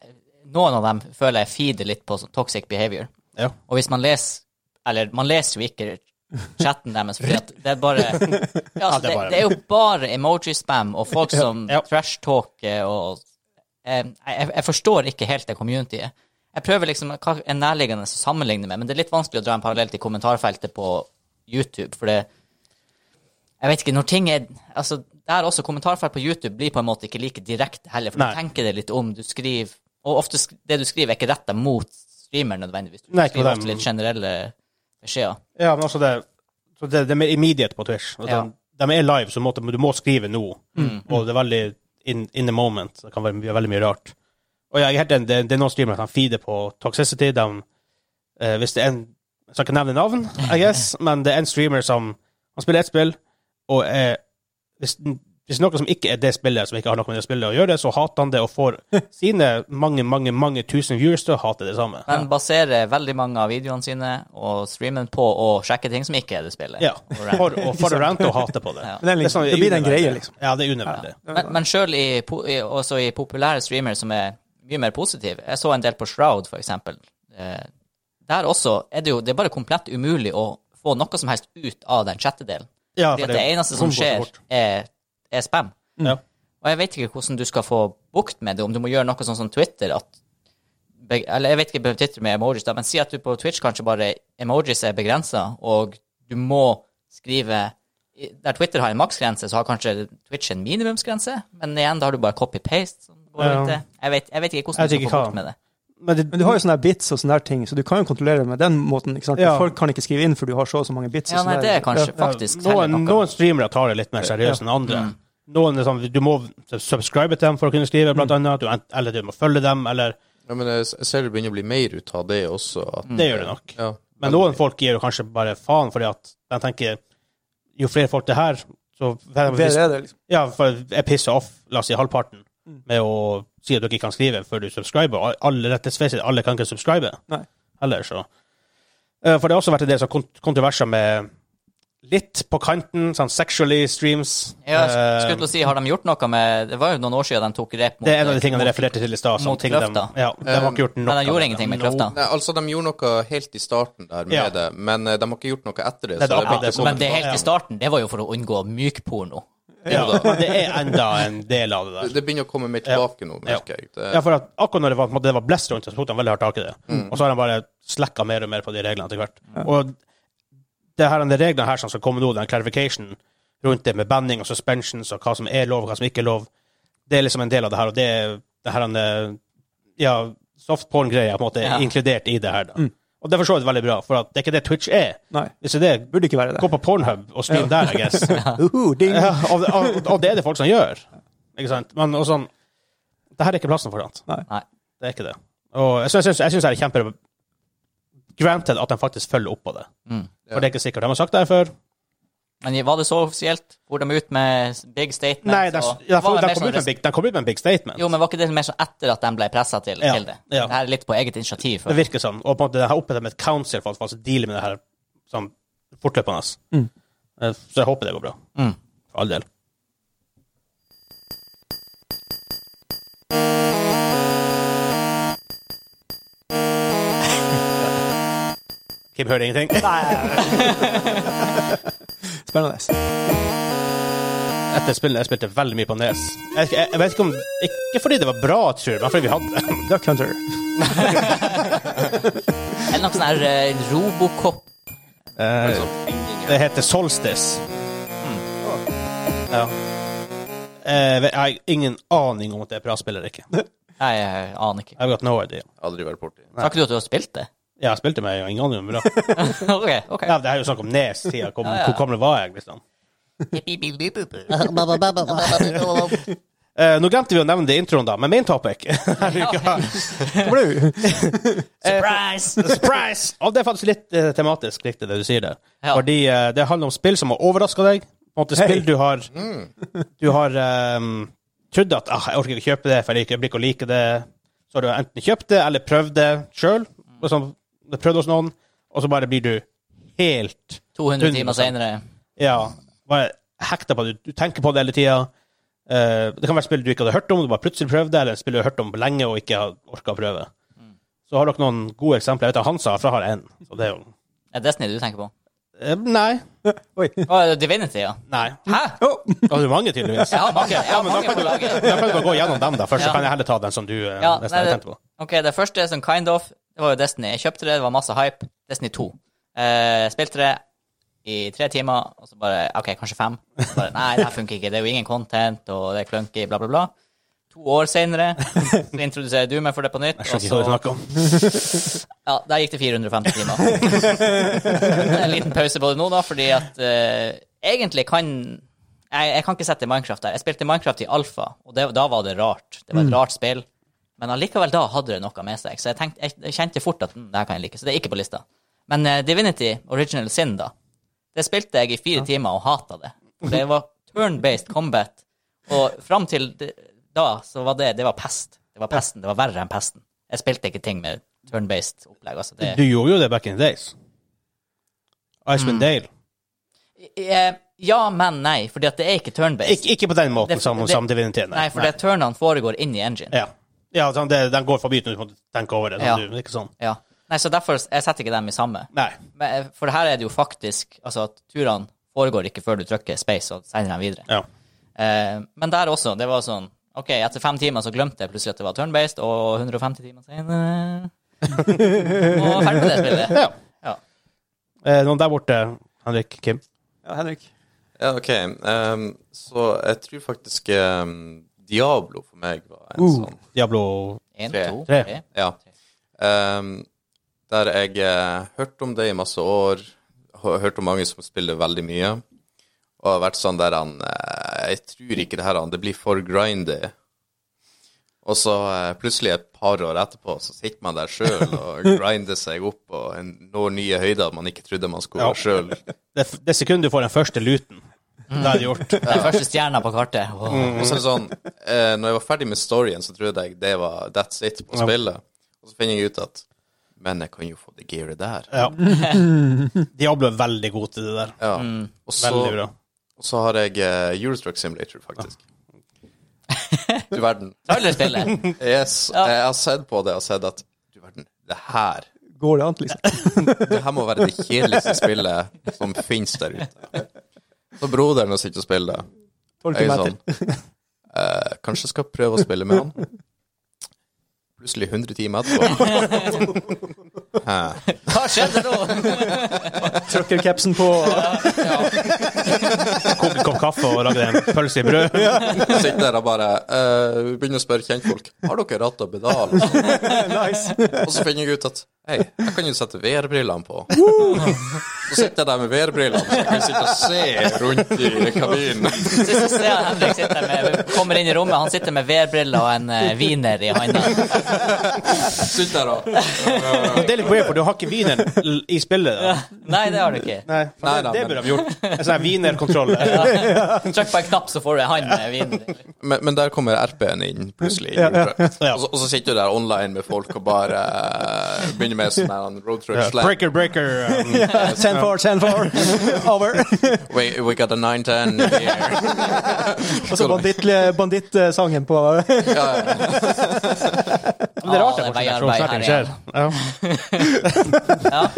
S1: Noen av dem føler jeg feeder litt på sånn toxic behavior.
S3: Ja.
S1: Og hvis man leser Eller man leser jo ikke chatten deres, fordi at det er bare ja, altså,
S3: det er
S1: det,
S3: bare-
S1: det er jo bare emoji-spam og folk som
S3: Ja.
S1: trash-talker og eh, jeg, jeg forstår ikke helt det communityet. Jeg prøver liksom hva er nærliggende å sammenligne med, men det er litt vanskelig å dra en parallell til kommentarfeltet på YouTube, for det jeg vet ikke, når ting er Altså, der også kommentarfelt på YouTube blir på en måte ikke like direkte heller, for
S3: Nei.
S1: du tenker deg litt om, du skriver Og ofte sk det du skriver, er ikke retta mot streamer nødvendigvis. Du
S3: Nei, ikke
S1: skriver
S3: dem.
S1: ofte litt generelle beskjeder.
S3: Ja, men også det, så det, det er mer immediate på Twitch. At
S1: Ja. Mm.
S3: de, de er live, så måtte, du må skrive nå. Og det er veldig in, in the moment. Det kan være mye- veldig mye rart. Og jeg er helt enig, det, det er noen streamere som feeder på toxicity. De, eh, hvis det er en Jeg skal ikke nevne navn, I guess, men det er en streamer som han spiller ett spill, og er, hvis, hvis noe som ikke er det spillet, som ikke har noe med det spillet å gjøre, så hater han det og får sine mange, mange mange tusen viewers til å hate det samme.
S1: De baserer veldig mange av videoene sine og streamen på å sjekke ting som ikke er det spillet.
S3: Ja,
S1: Og rant.
S3: for, å- for å rante og hate på det. sånn
S1: Ja.
S2: Men det, er liksom, det blir den
S3: unødvendig.
S2: greia, liksom.
S3: Ja, det er unødvendig.
S1: Men, men sjøl i, po- i, også i populære streamere som er mye mer positive Jeg så en del på Shroud, for eksempel. Eh, der også er det jo Det er bare komplett umulig å få noe som helst ut av den chattedelen.
S3: Ja,
S1: Fordi at det eneste som
S3: går så
S1: skjer,
S3: fort.
S1: er, er spam.
S3: Ja.
S1: Og jeg vet ikke hvordan du skal få bukt med det, om du må gjøre noe sånn som Twitter at beg- Eller jeg vet ikke på Twitter med emojis, da, men si at du på Twitch kanskje bare emojis er begrensa, og du må skrive i- Der Twitter har en maksgrense, så har kanskje Twitch en minimumsgrense, men igjen, da har du bare copy-paste som går rundt
S3: Ja.
S1: det. Jeg vet, jeg vet ikke hvordan
S3: Jeg
S1: du
S3: vet
S1: skal
S3: ikke
S1: få
S3: hva.
S1: bort med det.
S3: Men, det,
S2: Men du har jo sånne her bits og sånne her ting, så du kan jo kontrollere det med den måten. ikke sant?
S3: Ja.
S2: Folk kan ikke skrive inn for du har så og så mange bits.
S1: Ja,
S2: og
S1: nei,
S2: sånne
S1: det
S2: her-
S1: er kanskje
S2: Ja.
S1: faktisk heller
S3: noen,
S1: noe.
S3: noen streamere tar det litt mer seriøst enn andre. Noen er sånn, Du må subscribe til dem for å kunne skrive, blant annet. Du, ent- eller du må følge dem, eller
S4: Ja, men jeg s- jeg ser det begynner å bli mer ut av det også. At,
S3: Det gjør det nok.
S4: ja.
S3: Mm. Men noen folk gir jo kanskje bare faen, fordi at de tenker jo flere folk det her, så
S2: Bedre er det, liksom.
S3: Ja, for jeg pisser off, la oss si, halvparten med å si at du ikke kan skrive før du subscriber. Og Alle rettesfeser, alle kan ikke subscribe.
S2: Nei.
S3: Heller, så. Eh, For det har også vært en del sånn kont kontroverser med litt på kanten, sånn sexually streams.
S1: Ja, jeg sk-
S3: Eh,
S1: skulle til å si, har de gjort noe med Det var jo noen år siden de tok grep mot
S3: det er en av de tingene jeg refererte til i stad. som
S1: mot
S3: ting de-
S1: Kløfta.
S3: Ja, de har ikke gjort noe
S1: Men de
S3: av
S1: gjorde
S3: det.
S1: ingenting med
S3: No.
S1: Kløfta.
S4: Nei, altså, de gjorde noe helt i starten der med
S3: Ja.
S4: det, men eh, de har ikke gjort noe etter
S3: Nei,
S4: det.
S3: det
S4: så
S3: er
S4: det
S1: Ja,
S4: blir
S3: akkurat det
S4: ikke
S3: som-
S1: men det helt
S3: Sånn. Ja.
S1: i starten, det var jo for å unngå mykporno.
S3: Ja,
S4: Jo da.
S3: men det er enda en del av det der.
S4: sånn- det begynner å komme mer tilbake nå, merker jeg. Det,
S3: Ja, for at akkurat når det var, på en måte, det var blest rundt, så tok de veldig hardt tak i det. Og så har de bare slekka mer og mer på de reglene etter hvert. Og det her, de reglene her som skal komme nå, den clarification rundt det med banning og suspensions og hva som er lov og hva som ikke er lov, det er liksom en del av det her. Og det, det her den, eh, ja, softporn-greia på en måte er
S1: Ja.
S3: inkludert i det her. da. Og det er for så vidt veldig bra, for at det er ikke det Twitch er.
S2: Nei,
S3: Hvis det er det,
S2: burde ikke være det.
S3: gå på Pornhub og stream der, I guess.
S2: Uhu, ding.
S3: Ja, og, og, og det er det folk som gjør. Ikke sant? Men og sånn, det her er ikke plassen for det. altså.
S1: Nei.
S3: Det er ikke det. Og jeg syns, jeg synes det er kjempe Granted at de faktisk følger opp på det.
S1: Mm.
S3: For det er ikke sikkert. De har sagt det her før.
S1: Men var det så offisielt? Hvor de ut med big statements?
S3: Nei, de,
S1: og-
S3: de,
S1: Var det
S3: de,
S1: mer
S3: kom ut med
S1: sånn-
S3: en big, de kom ut med en big statement.
S1: Jo, men var ikke det mer sånn etter at de ble pressa til,
S3: Ja,
S1: til det?
S3: ja.
S1: Det her er litt på eget initiativ.
S3: Det
S1: føler jeg.
S3: virker sånn. Og på en måte det her oppe med et council for at man skal deale med det her sånn, fortløpende.
S2: Mm.
S3: Eh, Så jeg håper det går bra.
S1: Mm.
S3: For all del. Kim hører ingenting.
S2: Spennende.
S3: Etter spillene jeg spilte veldig mye på Nes. Jeg, jeg, jeg vet ikke om Ikke fordi det var bra, tror jeg, men fordi vi hadde det.
S2: Duck Hunter.
S1: Eller noe sånn her eh, Robocop sånn?
S3: Det heter Solstice. Hmm. Ja. Eh, jeg har ingen aning om at det er bra spill eller ikke.
S1: Nei, jeg aner ikke.
S3: I've got no idea.
S4: Aldri vært borti.
S1: Sa ikke du at du har spilt det?
S3: Ja, jeg spilte med ingen aning om det. var bra.
S1: OK. ok.
S3: Ja, det her er jo snakk om Nes, sier jeg. Hvor,
S1: Ja, ja.
S3: hvor gammel var jeg? liksom?
S1: Hva
S3: Eh, nå glemte vi å nevne det i introen, da, men main topic her i uka.
S2: Kommer du?
S1: Surprise!
S3: Surprise! Og det er faktisk litt eh, tematisk riktig, det du sier der.
S1: Ja.
S3: Fordi eh, det handler om spill som har overraska deg. På en måte spill du har
S1: Mm.
S3: Du har ehm, trodd at ah, 'jeg orker ikke kjøpe det, for jeg liker- jeg blir ikke å like det'. Så har du enten kjøpt det, eller prøvd det sjøl. Prøvd hos noen, og så bare blir du helt
S1: 200 timer
S3: 100%.
S1: senere.
S3: Ja, bare hekta på det. Du tenker på det hele tida. Eh, det kan være spill du ikke hadde hørt om, du bare plutselig prøvde, eller spill du har hørt om lenge og ikke har orka å prøve.
S1: Mm.
S3: Så har dere noen gode eksempler. Jeg vet at Hansa fra har en. Så det er jo
S1: Er det Destiny du tenker på?
S3: Eh, Nei.
S2: Oi.
S1: Å, er det Divinity, ja.
S3: Nei.
S1: Hæ?
S2: Oh.
S3: Da har du mange, tydeligvis.
S1: Jeg har mange, jeg har
S3: men da
S1: mange
S3: kan
S1: på
S3: du-
S1: laget.
S3: Da kan du bare gå gjennom dem, da. Først
S1: Ja.
S3: så kan jeg heller ta den som du eh,
S1: Ja,
S3: nesten
S1: nei,
S3: hadde
S1: det-
S3: tenkt på.
S1: Ok, det første som kind of, det var jo Destiny. Jeg kjøpte det, det var masse hype. Destiny 2. Eh, spilte det i tre timer, og så bare OK, kanskje fem. Så Bare, nei, det her funker ikke. Det er jo ingen content, og det er clunky, bla, bla, bla. To år senere så introduserer du meg for det på nytt,
S3: Jeg
S1: og
S3: skjønner ikke hva du
S1: så
S3: snakker om.
S1: Ja, der gikk det 450 timer. en liten pause på det nå, da, fordi at eh, egentlig kan jeg, jeg kan ikke sette Minecraft der. Jeg spilte Minecraft i alfa, og det, da var det rart. Det var et rart spill. Men allikevel da hadde det noe med seg, så jeg, tenkte, jeg- jeg kjente fort at mm, det her kan jeg like. Så det er ikke på lista. Men eh, Divinity Original Sin, da, det spilte jeg i fire timer og hata det. For det var turn-based combat, og fram til det- da så var det Det var pest. Det var pesten. Det var verre enn pesten. Jeg spilte ikke ting med turn-based opplegg. Altså det,
S3: Du gjorde jo det back in the days.
S1: Mm.
S3: Icewind Dale.
S1: Eh, Ja, men nei, fordi at det er ikke turn-based.
S3: Ik ikke på den måten
S1: Det-
S3: som,
S1: det-
S3: som Divinity.
S1: Nei, for det turnene foregår inni engine.
S3: Ja, ja sånn, det, den går forbi uten at du må tenke over det. Sånn,
S1: Ja.
S3: du, ikke sånn.
S1: Ja. Nei, så derfor jeg setter ikke dem i samme.
S3: Nei.
S1: Men, eh, For her er det jo faktisk altså at turene foregår ikke før du trykker space og sender dem videre.
S3: Ja.
S1: Eh, men der også, det var sånn OK, etter fem timer så glemte jeg plutselig at det var turn-based, og 150 timer senere Og ferdig med det spillet.
S3: Ja.
S1: Ja.
S3: Eh, noen der borte, Henrik Kim.
S2: Ja, Henrik.
S4: Ja, OK. ehm, så jeg tror faktisk ehm, Diablo for meg var en
S2: Uh.
S4: sånn
S3: Diablo
S1: En,
S4: Tre.
S1: to,
S3: Tre.
S1: tre.
S4: Ja. Ehm, der jeg eh, hørte om det i masse år, har hørt om mange som spiller veldig mye, og har vært sånn der han eh, Jeg tror ikke det her, han, det blir for grindy. Og så eh, plutselig et par år etterpå så sitter man der sjøl og grinder seg opp og en- når nye høyder man ikke trodde man skulle
S3: Ja.
S4: ja. sjøl.
S3: Det, det sekundet du får den første luten, da er det gjort.
S1: Den første stjerna på kartet. Åh.
S4: Og så er det sånn, eh, når jeg var ferdig med storyen, så trodde jeg det var that's it på
S3: Ja.
S4: spillet. Og så finner jeg ut at Men jeg kan jo få det gearet der.
S3: Ja. Diablo er veldig god til det der.
S4: Ja. Og, så,
S3: Veldig bra.
S4: og så har jeg eh, Eurostruck Simulator, faktisk. Du verden.
S1: Trailerspillet.
S4: Yes, Eh,
S1: Ja.
S4: jeg har sett på det og sett at Du verden, det her
S2: Går det an, liksom?
S4: Det her må være det kjedeligste spillet som finnes der ute. Så broderen har sittet og spilt det.
S2: Tolv
S4: Jeg er
S2: timer
S4: sånn
S2: etter.
S4: eh, Kanskje jeg skal prøve å spille med han? Plutselig 100 timer etterpå. Hæ.
S1: Hva skjedde nå?
S2: Trucker-capsen på
S3: Koke en kopp kaffe og lage en pølse i brød.
S4: Sitter der og bare eh, begynner å spørre kjentfolk Har dere ratt og pedal. Og sånn.
S2: Nice.
S4: Og så finner jeg ut at Hei, jeg kan jo sette VR-brillene på. Så sitter jeg der med VR-brillene, så jeg kan sitte og se rundt i kabinen.
S1: Så så ser jeg Henrik sitter med, kommer inn i rommet, han sitter med VR-briller og en eh, wiener i handa.
S4: Sitter der og
S3: Men det er litt weird, for du har ikke wieneren l- i spillet. Da.
S1: Nei, det har du ikke.
S3: Nei, for
S4: Nei
S3: det,
S4: da,
S3: det
S4: men-
S3: burde de gjort. En sånn her wienerkontroll.
S1: Trykk på en knapp, så får du en hand med wiener.
S4: Men, men der kommer RP-en inn plutselig. i
S2: Ja, ja.
S4: Roadtruck.
S3: Ja.
S4: Og, så, og så sitter du der online med folk og bare eh, begynner med sånn her roadtruck
S3: Ja.
S4: slang.
S3: Breaker, breaker. Um,
S2: Ten for, ten for. Over.
S4: We, we got a 910 here.
S2: Og så bandittsangen Altså, banditt eh, sangen på
S4: Ja, ja.
S3: men det er rart det
S1: Ah, det
S3: er
S1: er
S3: forskjellig fra
S1: veiarbeid
S3: snart
S1: her
S3: det skjer. Ja.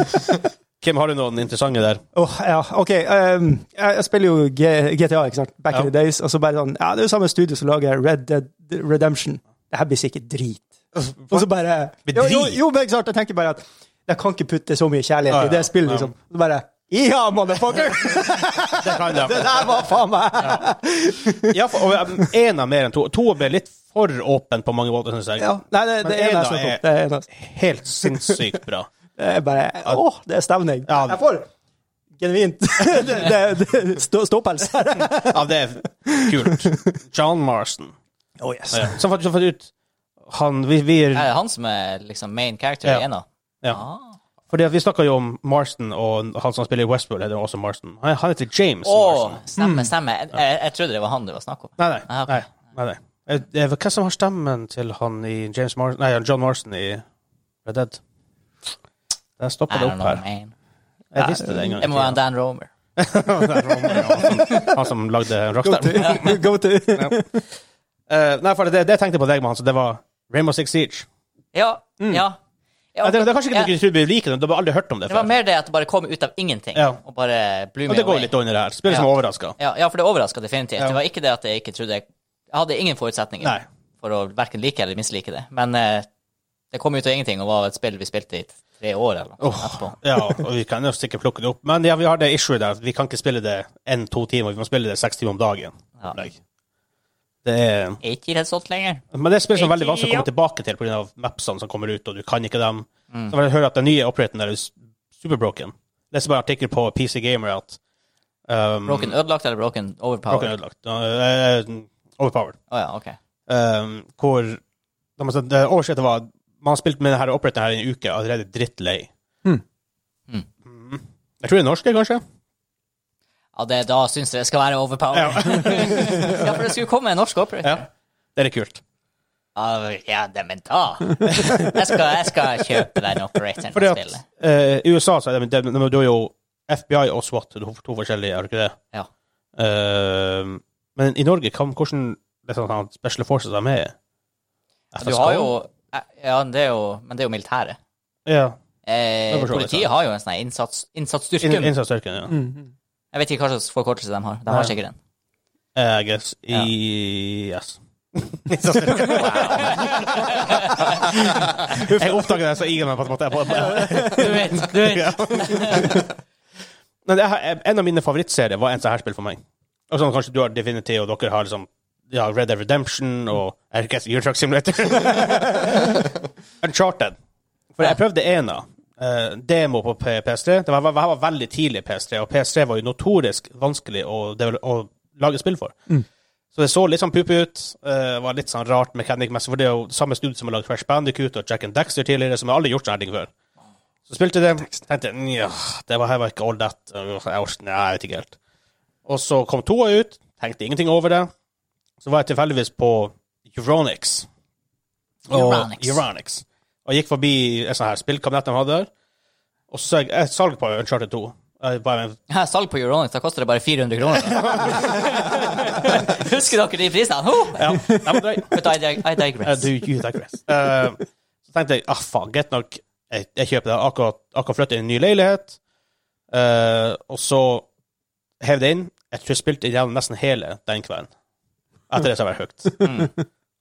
S3: Kim, har du noen interessante der?
S2: Åh, ja, OK. ehm, jeg, jeg spiller jo G GTA, ikke sant? Back in
S3: Ja.
S2: the days. Og så bare sånn Ja, det er jo samme studio som lager Red Dead Redemption. Det her blir sikkert drit. Og så bare
S3: Altså, Blir
S2: jo, jo,
S3: drit?
S2: jo, men ikke sant, jeg tenker bare at jeg kan ikke putte så mye kjærlighet
S3: Ja, ja,
S2: i det spillet,
S3: ja.
S2: liksom. Og så bare Ja, motherfucker!
S3: Det kan
S2: Det
S3: jeg.
S2: der var faen meg
S3: Ja, for, og um, en av mer enn to. To ble litt for åpen på mange måter, synes jeg.
S2: ja. Nei, det,
S3: Men
S2: det ene
S3: Eda
S2: jeg snakker
S3: er-
S2: om. Det ene jeg-
S3: Helt sinnssykt bra.
S2: det er bare Åh, det er stemning.
S3: Ja.
S2: Jeg får genuint det, det, det, stå, Ståpels her.
S3: Ja, det er kult. John Marston.
S2: Oh, yes.
S3: Ja. Som faktisk har fått ut han, vi, vi,
S1: Er det han som er liksom main character
S3: Ja.
S1: i ena?
S3: ja.
S1: Ah.
S3: Fordi at vi snakka jo om Marston, og han som spiller i Westworld, heter også Marston. Han, han heter James
S1: Åh,
S3: Marston.
S1: stemmer, stemmer. Jeg, jeg, jeg trodde det var han det var snakk om.
S3: Mm. Nei, nei.
S1: Ah, ok.
S3: nei, nei, nei. Eh, Det er hvem som har stemmen til han i James Marston Nei, John Marston i Red Dead? Der
S1: I
S3: stopper det
S1: don't
S3: opp
S1: know,
S3: her.
S1: man.
S3: Jeg visste det en gang. i
S1: Det må være
S3: tiden.
S1: Dan Romer.
S3: Det er Roman, ja, han- Han som lagde
S2: Go
S3: Rockstar.
S2: to. Go to.
S3: Eh, nei, for det, det tenkte jeg på deg med han, så det var Rainbow Six Siege.
S1: Ja, ja. ja
S3: Mm. Ja, det, det er kanskje ikke
S1: ja,
S3: du ikke trodde du liker det, du har aldri hørt om det
S1: det var
S3: før.
S1: mer det at det bare kom ut av ingenting,
S3: Ja.
S1: og bare blew
S3: Og
S1: me
S3: det går
S1: away.
S3: litt under her. Spiller som
S1: Ja.
S3: overraska.
S1: Ja, ja, for det overraska definitivt.
S3: Ja.
S1: Det var ikke det at jeg ikke trodde Jeg, jeg hadde ingen forutsetninger
S3: Nei.
S1: for å verken like eller mislike det. Men eh, det kom ut av ingenting og var et spill vi spilte i tre år eller noe sånt etterpå.
S3: Ja, og vi kan jo sikkert plukke det opp. Men ja, vi har det issue der. at Vi kan ikke spille det én-to timer, vi må spille det seks timer om dagen.
S1: Ja.
S3: Opplegg. Det er
S1: Er ikke helt solgt lenger.
S3: Men det er spill som er veldig vanskelig å
S1: Ja. Mm.
S3: komme tilbake til pga. mapsene som kommer ut, og du kan ikke dem. Så jeg hører at den nye operaten der er s- superbroken. Jeg Leser bare artikkel på PC Gamer at um,
S1: Broken ødelagt eller broken
S3: broken
S1: overpowered?
S3: ødelagt. Uh, uh, overpowered.
S1: Å ja, OK.
S3: Um, hvor de har sagt- det Overskriften var man har spilt med denne operaten her i en uke, allerede drittlei.
S2: Mm.
S1: Mm.
S3: Mm. Jeg tror det er norske, kanskje.
S1: Ja, det, da syns jeg det skal være overpowered. Ja. for det skulle komme en norsk operator.
S3: Ja. Det er litt kult.
S1: Ja, ja det, men da jeg skal, jeg skal kjøpe den operatoren
S3: Fordi
S1: og
S3: at
S1: spille.
S3: eh, i USA så er det, det, det, det er jo FBI og SWAT, det er to- to forskjellige, er det ikke det?
S1: Ja.
S3: Eh, men i Norge, hva, hvordan liksom, sånn Special Forces er med?
S1: Du har jo Ja, det er jo, men det er jo militæret.
S3: Ja,
S1: Eh,
S3: Det forstår jeg,
S1: politiet
S3: sant.
S1: har jo en sånn her innsats, innsatsstyrke.
S3: inn- innsatsstyrken, ja.
S2: Mm.
S1: Jeg vet ikke hva slags forkortelse de har. De
S3: Nei.
S1: har sikkert en.
S3: Eh, I guess.
S1: Ja.
S3: I, yes. Innsatsstyrken. jeg oppdaget det, så jeg meg på en måte. Jeg bare-
S1: Du vet, du vet.
S3: Men det her, en av mine favorittserier var en sånn her spill for meg. Og sånn, kanskje du har Divinity, og dere har liksom ja, Red Dead Redemption og jeg guess, Euro Truck Simulator. Uncharted. For jeg prøvde en av. eh, demo på P- PS3. Det var, var, var veldig tidlig PS3, og PS3 var jo notorisk vanskelig å, devel- å lage spill for. Så det så litt sånn pupi ut. eh, var litt sånn rart mekanikkmessig, for det er jo samme studio som har lagd Crash Bandicoot og Jack and Daxter tidligere, som har aldri gjort sånne ting før. Så spilte jeg det, tenkte jeg, nja, det var her var ikke all that. øh, Jeg orket- nei, jeg vet ikke helt. Og så kom toa ut, tenkte ingenting over det. Så var jeg tilfeldigvis på Euronics. Og,
S1: Euronics.
S3: Euronics. Og jeg gikk forbi et sånt her spillkabinett de hadde der, og så jeg et salg på Uncharted 2. Jeg bare,
S1: Ja, salg på Euronics, da koster det bare 400 kroner. Husker dere de prisene? Ho!
S3: ja, nei, men det-
S1: But I, dig- I
S3: Uh,
S1: digress.
S3: do you digress? Eh, så tenkte jeg ah, faen, greit nok, jeg, jeg kjøper det. Akkurat, akkurat flyttet inn i en ny leilighet. Eh, og så hev det inn. Jeg tror jeg spilte igjen nesten hele den kvelden. Etter det så har jeg høyt.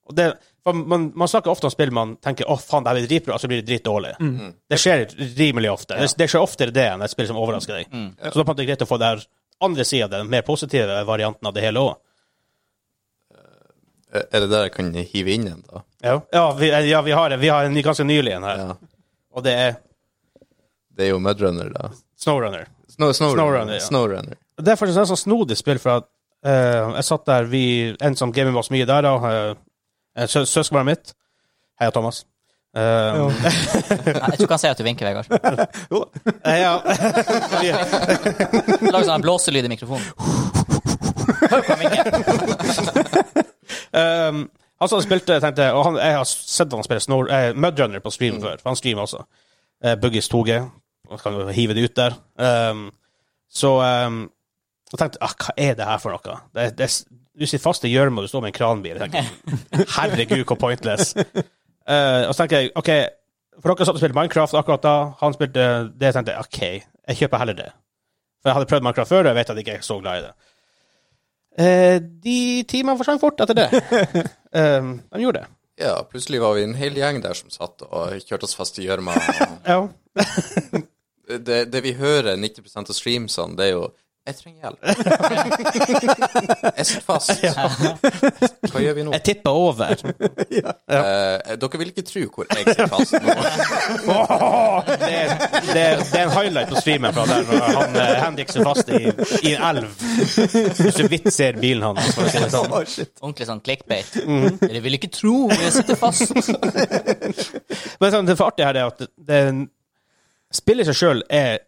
S3: Og det, for man, man snakker ofte om spill man tenker å faen, det her blir dritbra, og så blir det dritdårlig. Det skjer rimelig ofte. Det, det skjer oftere det enn et spill som overrasker deg. Så da er det på en måte greit å få det her andre sida, den mer positive varianten av det hele òg.
S4: Eh, Er er det der jeg kan hive inn en, da?
S3: Ja, vi, ja vi, har, vi har en ny- ganske nylig en her.
S4: Ja.
S3: Og det er
S4: Det er jo Mudrunner, da.
S3: Snowrunner.
S4: Snow, snowrunner.
S3: Snowrunner, ja.
S4: Snowrunner.
S3: Det er faktisk et sånt snodig spill, for at eh, jeg satt der vi, En som gamer med oss mye der, da, eh, sø søskenbarnet mitt Heia, Thomas. Eh,
S1: Ja, Jeg tror ikke han ser at du vinker, Vegard.
S3: eh, ja. Vi-
S1: Lag sånn blåselyd i mikrofonen. Hør på han vinker.
S3: ehm, han som spilte, tenkte jeg, og han, jeg har sett han spille Snow, eh, Mudrunner på stream før, for han streamer også. Eh, Buggies 2G. Man kan jo hive det ut der. Ehm, så ehm, jeg tenkte ah, hva er det her for noe? Det, det, du sitter fast i gjørma, du står med en kranbil. Jeg tenkte, Herregud, hvor pointless. Eh, og så tenker jeg, OK, for dere satt og spilte Minecraft akkurat da, han spilte det, tenkte jeg OK, jeg kjøper heller det. For jeg hadde prøvd Minecraft før, og jeg vet at jeg ikke er så glad i det. Eh, de timene forsvant fort etter det. Eh, de gjorde det.
S4: Ja, plutselig var vi en hel gjeng der som satt og kjørte oss fast i gjørma. og-
S3: Ja.
S4: Det, det vi hører 90 av streamsene, det er jo 'Jeg trenger hjelp'. Jeg sitter fast. Hva gjør vi nå?
S3: Jeg tippa over.
S4: Eh, dere vil ikke tro hvor jeg sitter fast nå.
S3: Åh, det, er, det, er, det er en highlight på streamen fra der når han eh, Henrik sitter fast i, i en elv. Du så vidt ser bilen hans. For å si det sånn.
S2: Å, Oh, shit.
S1: Ordentlig sånn clickbait. Dere vil ikke tro, jeg sitter fast.
S3: Men sånn, det for artige her er at det, det- spillet i seg sjøl er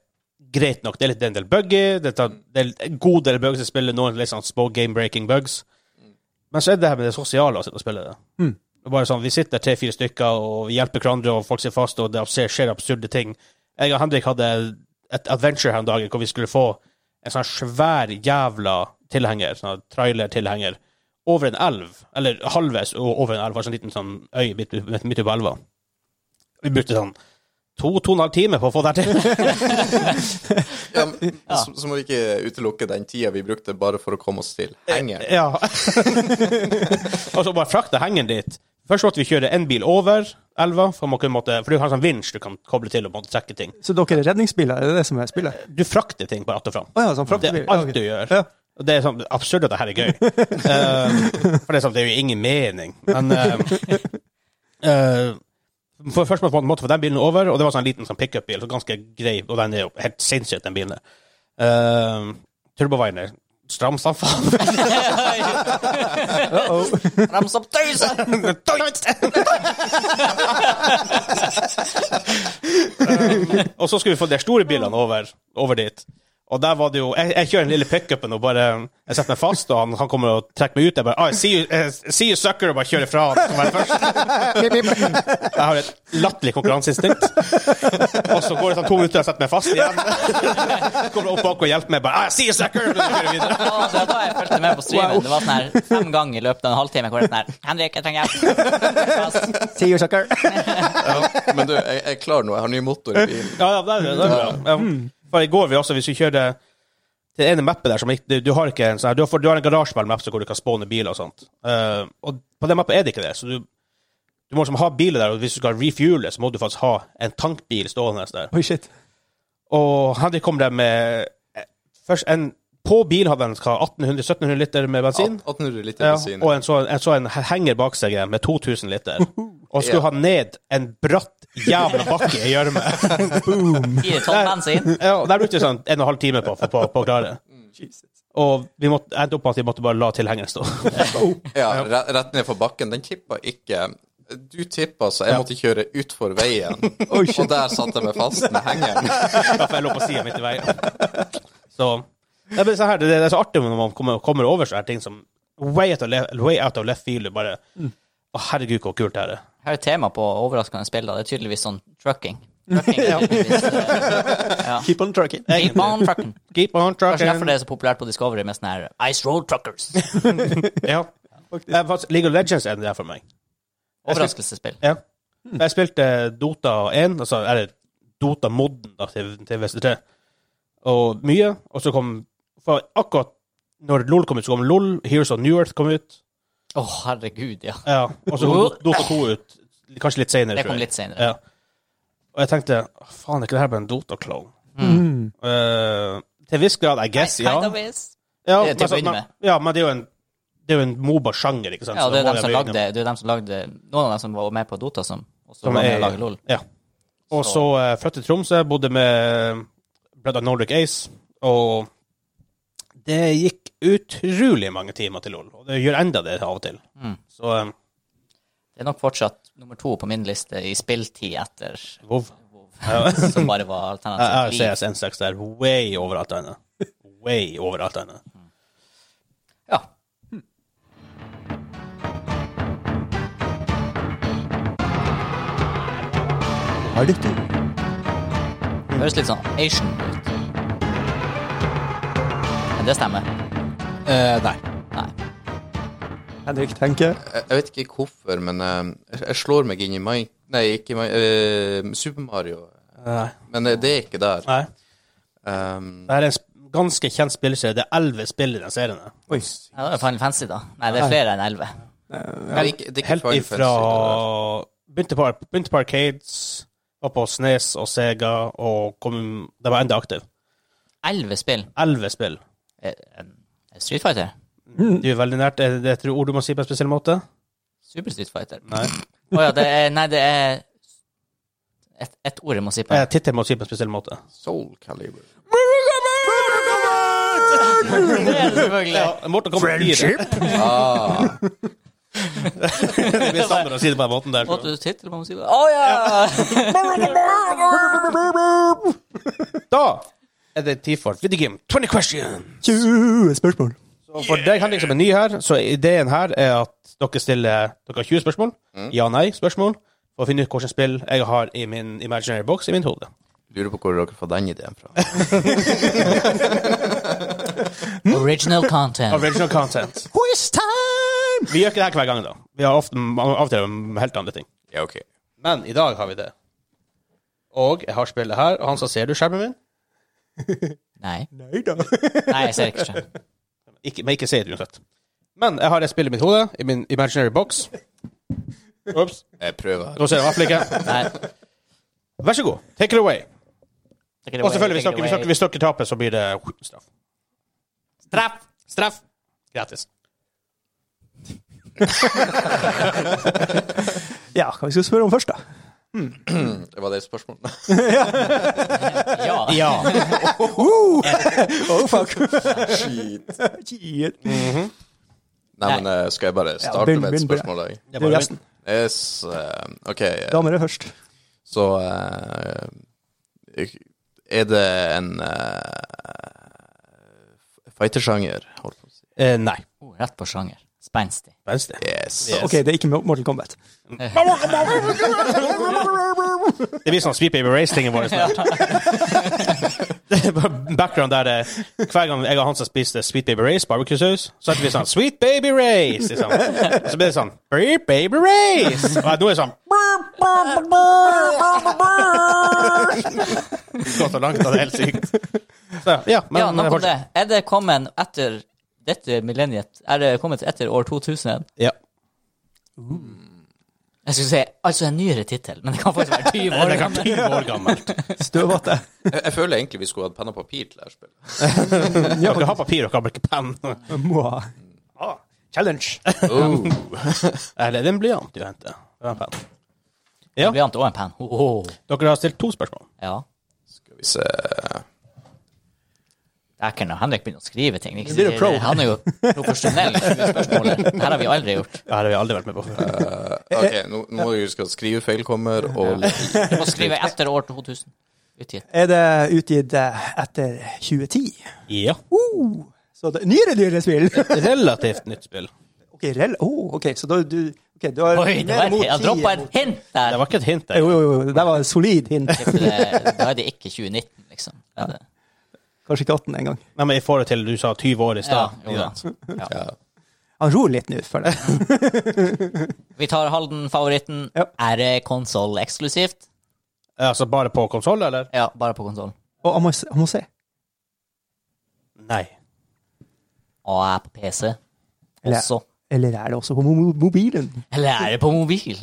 S3: greit nok. Det er litt det er en del buggy. Det tar- det er en god del bugs i spillet. Noen litt sånn små game-breaking bugs. Men så er det det her med det sosiale å sitte og spille det. Det er bare sånn, Vi sitter tre-fire stykker og vi hjelper hverandre, og folk sitter fast, og det skjer- skjer absurde ting. Jeg og Henrik hadde et adventure her en dag hvor vi skulle få en sånn svær jævla tilhenger, sånn trailer-tilhenger, over en elv. Eller halvveis over en elv, altså en liten sånn øy midt, midt, midt ute på elva. Vi brukte sånn to, to og en halv time på å få det her til.
S4: Ja, men så, så må vi ikke utelukke den tida vi brukte bare for å komme oss til hengeren.
S3: ja. og så bare frakte hengen dit. Først måtte vi kjøre en bil over elva, for, man kunne, måtte, for du har en sånn vinsj du kan koble til og måtte trekke ting.
S2: Så dere er redningsbiler, er det det som er spillet?
S3: Du frakter ting bare att og fram.
S2: Å ja, sånn
S3: Det
S2: fraktebil.
S3: er alt du
S2: Ja, ok.
S3: gjør.
S2: Ja.
S3: Og det er sånn absurd at det her er gøy. Eh, for det er, sånn, det er jo ingen mening. Men eh, eh, for Først måtte man måtte få den bilen over, og det var sånn en liten sånn pickup-bil. Så ganske grei, og den er jo helt sinnssykt, den bilen der. Uh, Turboviner. Stram som faen.
S1: Rams opp tøyset!
S3: Og så skulle vi få de store bilene over, over dit. Og der var det jo Jeg, jeg kjører den lille pickupen og bare Jeg setter meg fast, og han, han kommer og trekker meg ut. Jeg bare ah, see, you, eh, see you sucker, og bare kjører fra han. som er
S2: Eh,
S3: først. Jeg har et latterlig konkurranseinstinkt. Og så går det sånn to minutter, og jeg setter meg fast igjen. Kommer opp bak og hjelper meg. bare ah, see you sucker, og så kjører jeg videre.
S1: Ja, altså, da jeg fulgte med på streamen. Det var sånn her fem ganger i løpet av en halvtime hvor det er sånn her Henrik, jeg trenger hjelp. Fast.
S2: See you, sucker.
S4: Men du, jeg, jeg er klar nå. Jeg har ny motor i bilen.
S3: Ja, ja, det er, det er bra. Ja. For i går vi også, hvis vi kjørte til det ene mappet der som ikke, du, du har ikke en sånn her, du, har, for- du har en garasjeball-map så hvor du kan spåne biler og sånt. Eh, og på den mappet er det ikke det, så du, du må liksom ha biler der, og hvis du skal refuele, så må du faktisk ha en tankbil stående der.
S2: Oi, shit.
S3: Og Henrik kom der med eh, først en På bilen hadde de 1800-1700 liter med bensin.
S4: 1800 liter
S3: Ja,
S4: bensin.
S3: og en så, en så en henger bak seg med 2000 liter. Og skulle
S4: Ja.
S3: ha ned en bratt jævla bakke i gjørme.
S1: Fire tonn bensin.
S3: Ja, og der brukte vi sånn en og en halv time på, på, på, på å klare. Og vi måtte, endte opp med at vi måtte bare la tilhengeren stå.
S2: Oh,
S4: Ja, re- rett ned for bakken. Den tippa ikke. Du tippa, så jeg måtte kjøre utfor veien. og der satt jeg meg fast med hengeren.
S3: Derfor jeg lå på siden midt i veien. Så det er, så her, det, er så artig når man kommer, kommer over sånne ting som way out of left, way out of left field. Du bare Å, herregud, så kult det her er.
S1: Her er tema på overraskende spill. da. Det er tydeligvis sånn trucking. Trucking er tydeligvis eh, ja.
S2: Keep on trucking.
S1: Keep on trucking.
S3: Keep on
S1: Kanskje
S3: trucking.
S1: derfor det er så populært på Discovery med sånne her Ice Road Truckers.
S3: Ja. Eh, faktisk, League of Legends er det der for meg.
S1: Overraskelsesspill.
S3: Ja.
S1: Hmm.
S3: Jeg spilte Dota 1, altså eller Dota-modden da, til, til VC3, og mye. Og så kom for Akkurat når LOL kom ut, så kom LOL, Heroes of New Earth kom ut.
S1: Å, herregud, ja.
S3: Ja, og så kom
S1: Oh.
S3: Dota 2 ut kanskje litt senere.
S1: Det
S3: tror
S1: kom
S3: jeg.
S1: litt senere.
S3: Ja. Og jeg tenkte faen, er ikke det her bare en Dota-klone?
S2: Mm.
S3: Eh, til en viss grad, I guess, ja.
S1: Kind of is.
S3: ja
S1: Det er til å
S3: men altså,
S1: begynne
S3: men-
S1: med.
S3: Ja, men det er jo en det er jo en Moba-sjanger, ikke sant?
S1: Ja,
S3: Så
S1: det er
S3: da må
S1: dem
S3: jeg
S1: som
S3: begynne.
S1: lagde det er dem som lagde Noen av dem som var med på Dota, som også
S3: Som
S1: var med
S3: er-
S1: og lagde LOL.
S3: Ja. Og så eh, flyttet til Tromsø, bodde med blant annet Nordic Ace, og det gikk utrolig mange timer til LOL. Og det gjør enda det av og til.
S1: Mm.
S3: Så eh,
S1: Det er nok fortsatt nummer to på min liste i spilltid etter
S3: WoW.
S1: WoW, som bare var
S3: Jeg har
S1: alternativt liv.
S3: CS16 der way over alt annet. Way over alt annet.
S1: Ja.
S2: Har du to?
S1: Det høres litt sånn Asian ut. Men det stemmer.
S4: Eh, nei.
S1: Nei.
S2: Henrik tenker.
S4: Jeg, jeg vet ikke hvorfor, men eh, jeg, jeg slår meg inn i Mai... Nei, ikke Mai... eh, Super Mario.
S3: Nei.
S4: Men eh, det er ikke der.
S3: Nei.
S4: Um,
S3: Det her er en sp- ganske kjent spillserie. Det er elleve spill i den serien. her.
S2: Oi.
S1: Ja, det er Final Fantasy, da. Nei, det er flere enn elleve.
S4: det er ikke, det er ikke
S3: Helt
S4: Final
S3: ifra
S4: Fantasy,
S3: begynte på, begynte på Arcades, var på Snes og Sega, og kom, de var enda aktive.
S1: Elleve spill.
S3: Elleve spill.
S1: Eh, eh, Street Fighter?
S3: Du er veldig nært. Er det et ord du må si på en spesiell måte?
S1: Super Street Fighter.
S3: Nei.
S1: Å ja, det er Nei, det er et, et ord jeg må si på.
S3: Jeg titter med å si på en spesiell måte.
S4: det der. Soul Caliber.
S1: Det er det selvfølgelig.
S3: Morten kommer til å si det.
S4: Ah,
S3: Det blir standard å si det på den måten der.
S1: Måtte du titte på musikken? Å ja!
S3: Da er det tid for Videogame 20 question.
S2: 20 spørsmål.
S3: Og for deg, Henrik, som er ny her, så ideen her er at dere stiller dere har 20 spørsmål. Ja-nei-spørsmål. For å finne ut hvilket spill jeg har i min imaginary box i mitt hode.
S4: lurer på hvor dere får den ideen fra.
S1: Original content.
S3: Original content.
S2: Quiz time!
S3: Vi gjør ikke det her hver gang, da. Vi har ofte, av og til helt andre ting.
S4: Ja, ok.
S3: Men i dag har vi det. Og jeg har spillet her. Og han sa 'ser du skjermen min?'
S1: Nei.
S2: Nei da.
S1: Nei, jeg ser ikke skjerm.
S3: Ikke, men ikke se det uansett. Men jeg har det spillet i mitt hode, i min imaginary box. Ops.
S4: Jeg prøver.
S3: Nå ser jeg i hvert fall ikke.
S1: Nei.
S3: Vær så god. Take it away.
S1: Take it
S3: Og
S1: away,
S3: selvfølgelig, hvis
S1: take it
S3: dere, hvis dere,
S1: away.
S3: hvis dere taper, så blir det straff.
S1: Straff!
S3: Straff. Gratis.
S2: Ja, hva vi skal spørre om først, da?
S4: Det var det spørsmålet.
S1: Ja.
S3: Ja.
S2: Oh, fuck.
S4: Shit.
S2: Shit.
S4: Nei, men eh, skal jeg bare starte
S2: begynn-
S4: med et
S2: begynn på det.
S4: spørsmål? jeg?
S2: Det er resten.
S4: Yes, eh, OK. eh,
S2: Damer er først.
S4: Så eh, er det en eh, fighter-sjanger, holdt på å si.
S3: Eh, nei.
S1: Oh, rett på sjanger. Spenstig.
S3: Venstre.
S4: Yes.
S2: OK, det er ikke Mortal Kombat.
S3: Det blir sånn Sweet Baby Race-tingen vår snart. Det er bare Background der eh, Hver gang jeg og Hansa spiste Sweet Baby eh, Race barbecue-saus, så heter vi sånn Sweet Baby Race! Liksom. Og så blir det sånn Sweet Baby Race! Og nå er det sånn Gått så langt at det er helt sykt. Så, ja, men,
S1: Ja, nok om det.
S3: fortsett.
S1: Er det kommet etter dette millenniet? Er det kommet etter år 2000?
S3: Ja.
S1: Jeg skulle si altså en nyere tittel, men det kan faktisk være 20 år
S3: Det er
S1: gammel.
S3: 20 år gammelt.
S2: Støvete.
S4: Jeg, jeg føler egentlig vi skulle hatt penn og papir til det her spillet.
S3: Dere har papir, dere har bare ikke penn.
S2: Mwah.
S3: Ah,
S2: Challenge.
S4: Oh.
S3: Eller det er en blyant du henter. Det er en penn. Ja.
S1: En Blyant og en penn. Oh,
S3: Dere har stilt to spørsmål.
S1: ja.
S4: Skal vi se
S1: Dæken, og Henrik begynner å skrive ting. Ikke?
S3: Blir du pro?
S1: Han er jo profesjonell i spørsmålet. Dette har vi aldri gjort.
S3: Det har vi aldri vært med på før.
S4: Eh, OK, nå, nå må vi huske at skrivefeil kommer, og
S1: Du må skrive etter år 2000. Utgitt.
S2: Er det utgitt eh, etter 2010?
S3: Ja.
S2: Uh, så det, nyere dyrespill!
S3: Relativt nytt spill.
S2: OK, rel oh, ok, så da du Ok, du har
S1: Oi, det var,
S2: mot
S1: jeg
S2: ti
S1: droppa
S2: mot-
S1: et hint
S3: Det
S1: der!
S3: var ikke et hint.
S2: Jo,
S3: Jeg.
S2: jo, jo, det der var et solid hint.
S1: Da er det ikke 2019, liksom. Da er det-
S2: Kanskje ikke 18 engang.
S3: Nei, men I forhold til du sa 20 år i
S1: Ja,
S3: stad.
S1: jo
S3: Ja,
S1: da. Ja.
S4: ja.
S2: Han ror litt nå, føler jeg.
S1: Vi tar Halden-favoritten.
S2: Ja.
S1: Er det konsoll eksklusivt?
S3: altså bare på konsoll, eller?
S1: Ja, bare på konsoll.
S2: Og han må, se- han må se.
S3: Nei.
S1: Og er på PC
S2: Eller-
S1: også.
S2: Eller er det også på mo- mobilen?
S1: Eller er det på mobil?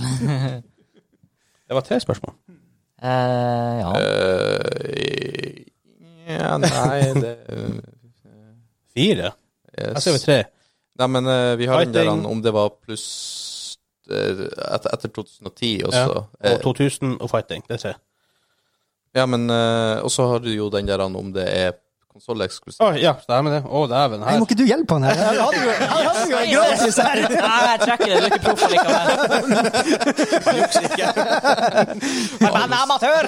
S3: Det var tre spørsmål.
S1: Eh, ja.
S4: Eh, ja, nei, det
S3: Fire? Jeg ser vi
S4: yes.
S3: tre.
S4: Nei, men eh, vi har den der
S3: Fighting.
S4: om det var pluss eh, etter, etter 2010
S3: Ja.
S4: også.
S3: Og
S4: Eh,
S3: 2000 og fighting. Det er tre.
S4: Ja, men eh, Og så har du jo den der om det er konsolleksklusivt.
S3: Å, ja, stemmer det. Å, dæven.
S2: Nei,
S3: Her.
S2: må ikke du hjelpe han her? Han hadde jo, han hadde jo en gratis her!
S1: Nei, jeg trekker det. Du er ikke proff likevel. Jeg er bare amatør!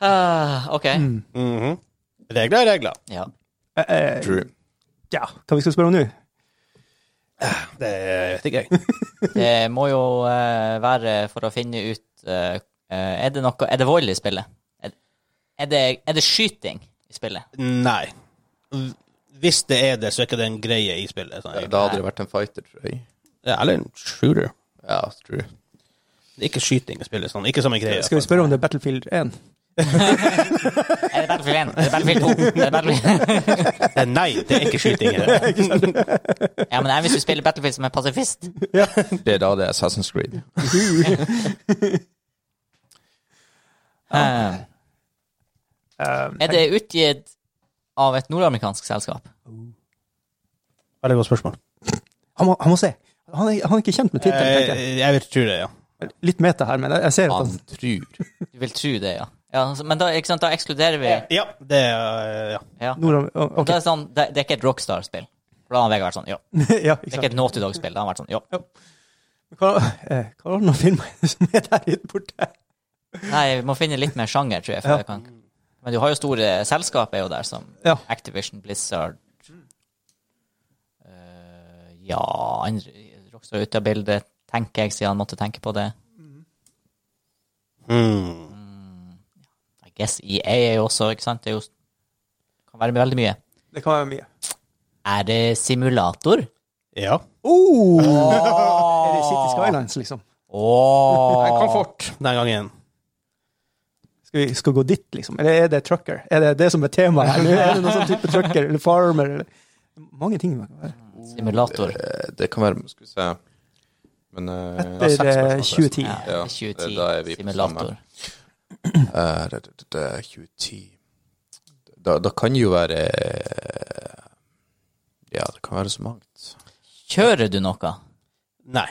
S1: Ah, ok.
S3: Mhm. Regler er regler.
S1: Ja.
S2: Eh, eh,
S4: True.
S2: Ja, hva vi skal spørre om nå?
S3: Det vet ikke jeg.
S1: Det må jo eh, være for å finne ut eh, eh, Er det noe Er det vold i spillet? Er, er, det, er det skyting i spillet?
S3: Nei. Hvis det er det, så er ikke det en greie i spillet. Sånn.
S4: Da hadde det vært en fighter, tror jeg.
S3: Ja, Eller en shooter.
S4: Ja, true.
S3: Det er ikke skyting i spillet. Sånn. Ikke som en greie.
S2: Skal vi spørre om det er Battlefield 1?
S1: Er det Battlefield 1? Er det Battlefield 2? Er det Battlefield...
S3: Det er- Nei, det er ikke skyting i det.
S1: Ja, men det er hvis du spiller Battlefield som en pasifist.
S4: Det er da det er Assassin's Creed.
S1: Eh,
S2: Um,
S1: er det utgitt av et nordamerikansk selskap?
S3: Veldig godt spørsmål.
S2: han, må, han må se. Han er, han er ikke kjent med tittelen, tenker jeg.
S3: Eh, Jeg, jeg vil tro det, ja.
S2: Litt meta her, men jeg, jeg ser at han
S4: Han tror.
S1: Du vil tro det, ja. ja altså, men da, ikke sant, da ekskluderer vi
S3: Ja, det er eh, ja.
S1: ja.
S2: Nord, å,
S1: Og
S2: ok.
S1: Da er det, sånn, det, det er ikke et Rockstar-spill. For Da har Vegard vært sånn, ja.
S2: ja,
S1: Det
S2: ikke
S1: er ikke
S2: sant.
S1: et Naughty Dog-spill. Da har han vært sånn, ja.
S2: Hva eh, hva var det noen filmer som er der litt borte?
S1: Nei, vi må finne litt mer sjanger, tror jeg. For
S2: Ja.
S1: jeg kan. Men du har jo store selskap er jo der, som
S2: Ja.
S1: Activision, Blizzard eh, Ja, andre Rockstar er ute av bildet, tenker jeg, siden han måtte tenke på det.
S3: Mm.
S1: I guess EA er jo også, ikke sant? Det er jo, kan være veldig mye.
S2: Det kan være mye.
S1: Er det simulator?
S3: Ja.
S2: Oh! Er det City Skylines, liksom?
S1: Åh.
S3: Jeg kan fort den gangen.
S2: Skal vi skal gå dit, liksom? Eller er det trucker? Er det det som er temaet her? nå? Er det noen sånn type trucker eller farmer? Eller? Mange ting. man kan være.
S1: Simulator.
S4: Eh, Oh, Det kan være Skal vi se Men eh,
S2: Det er eh, 2010.
S1: Ja,
S4: Ja,
S1: 2010.
S4: da er vi på
S1: simulator.
S4: samme. Eh, det- det- det er 2010 da, da kan jo være eh, Ja, det kan være så mangt.
S1: Kjører du noe?
S3: Nei.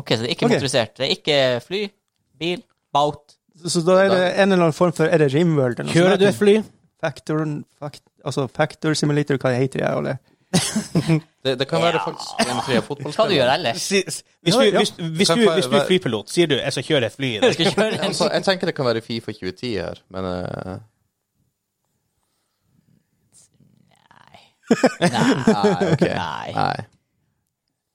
S1: Ok, så det er ikke
S2: Ok.
S1: motorisert. Det er ikke fly, bil, båt.
S2: Så, så da er det en eller annen form for Er det Rimworld? eller noe
S3: Kjører
S2: sånt?
S3: du et fly?
S2: Factor, fact, altså Factor Simulator, hva heter det? Eller?
S4: Det, det kan
S1: Ja.
S4: være faktisk en tre
S1: Hva skal du
S4: fotballspillere.
S1: gjøre ellers?
S3: Si- s- Hvis
S2: Ja,
S3: du,
S2: ja.
S3: hvis, hvis, du, hvis du er flypilot, sier du 'jeg skal kjøre et fly' i
S1: Du
S3: dag.
S1: skal kjøre en
S4: Altså, jeg tenker det kan være Fifa 2010 her, men eh,
S1: Nei.
S4: Nei, ok.
S1: Nei.
S4: Nei.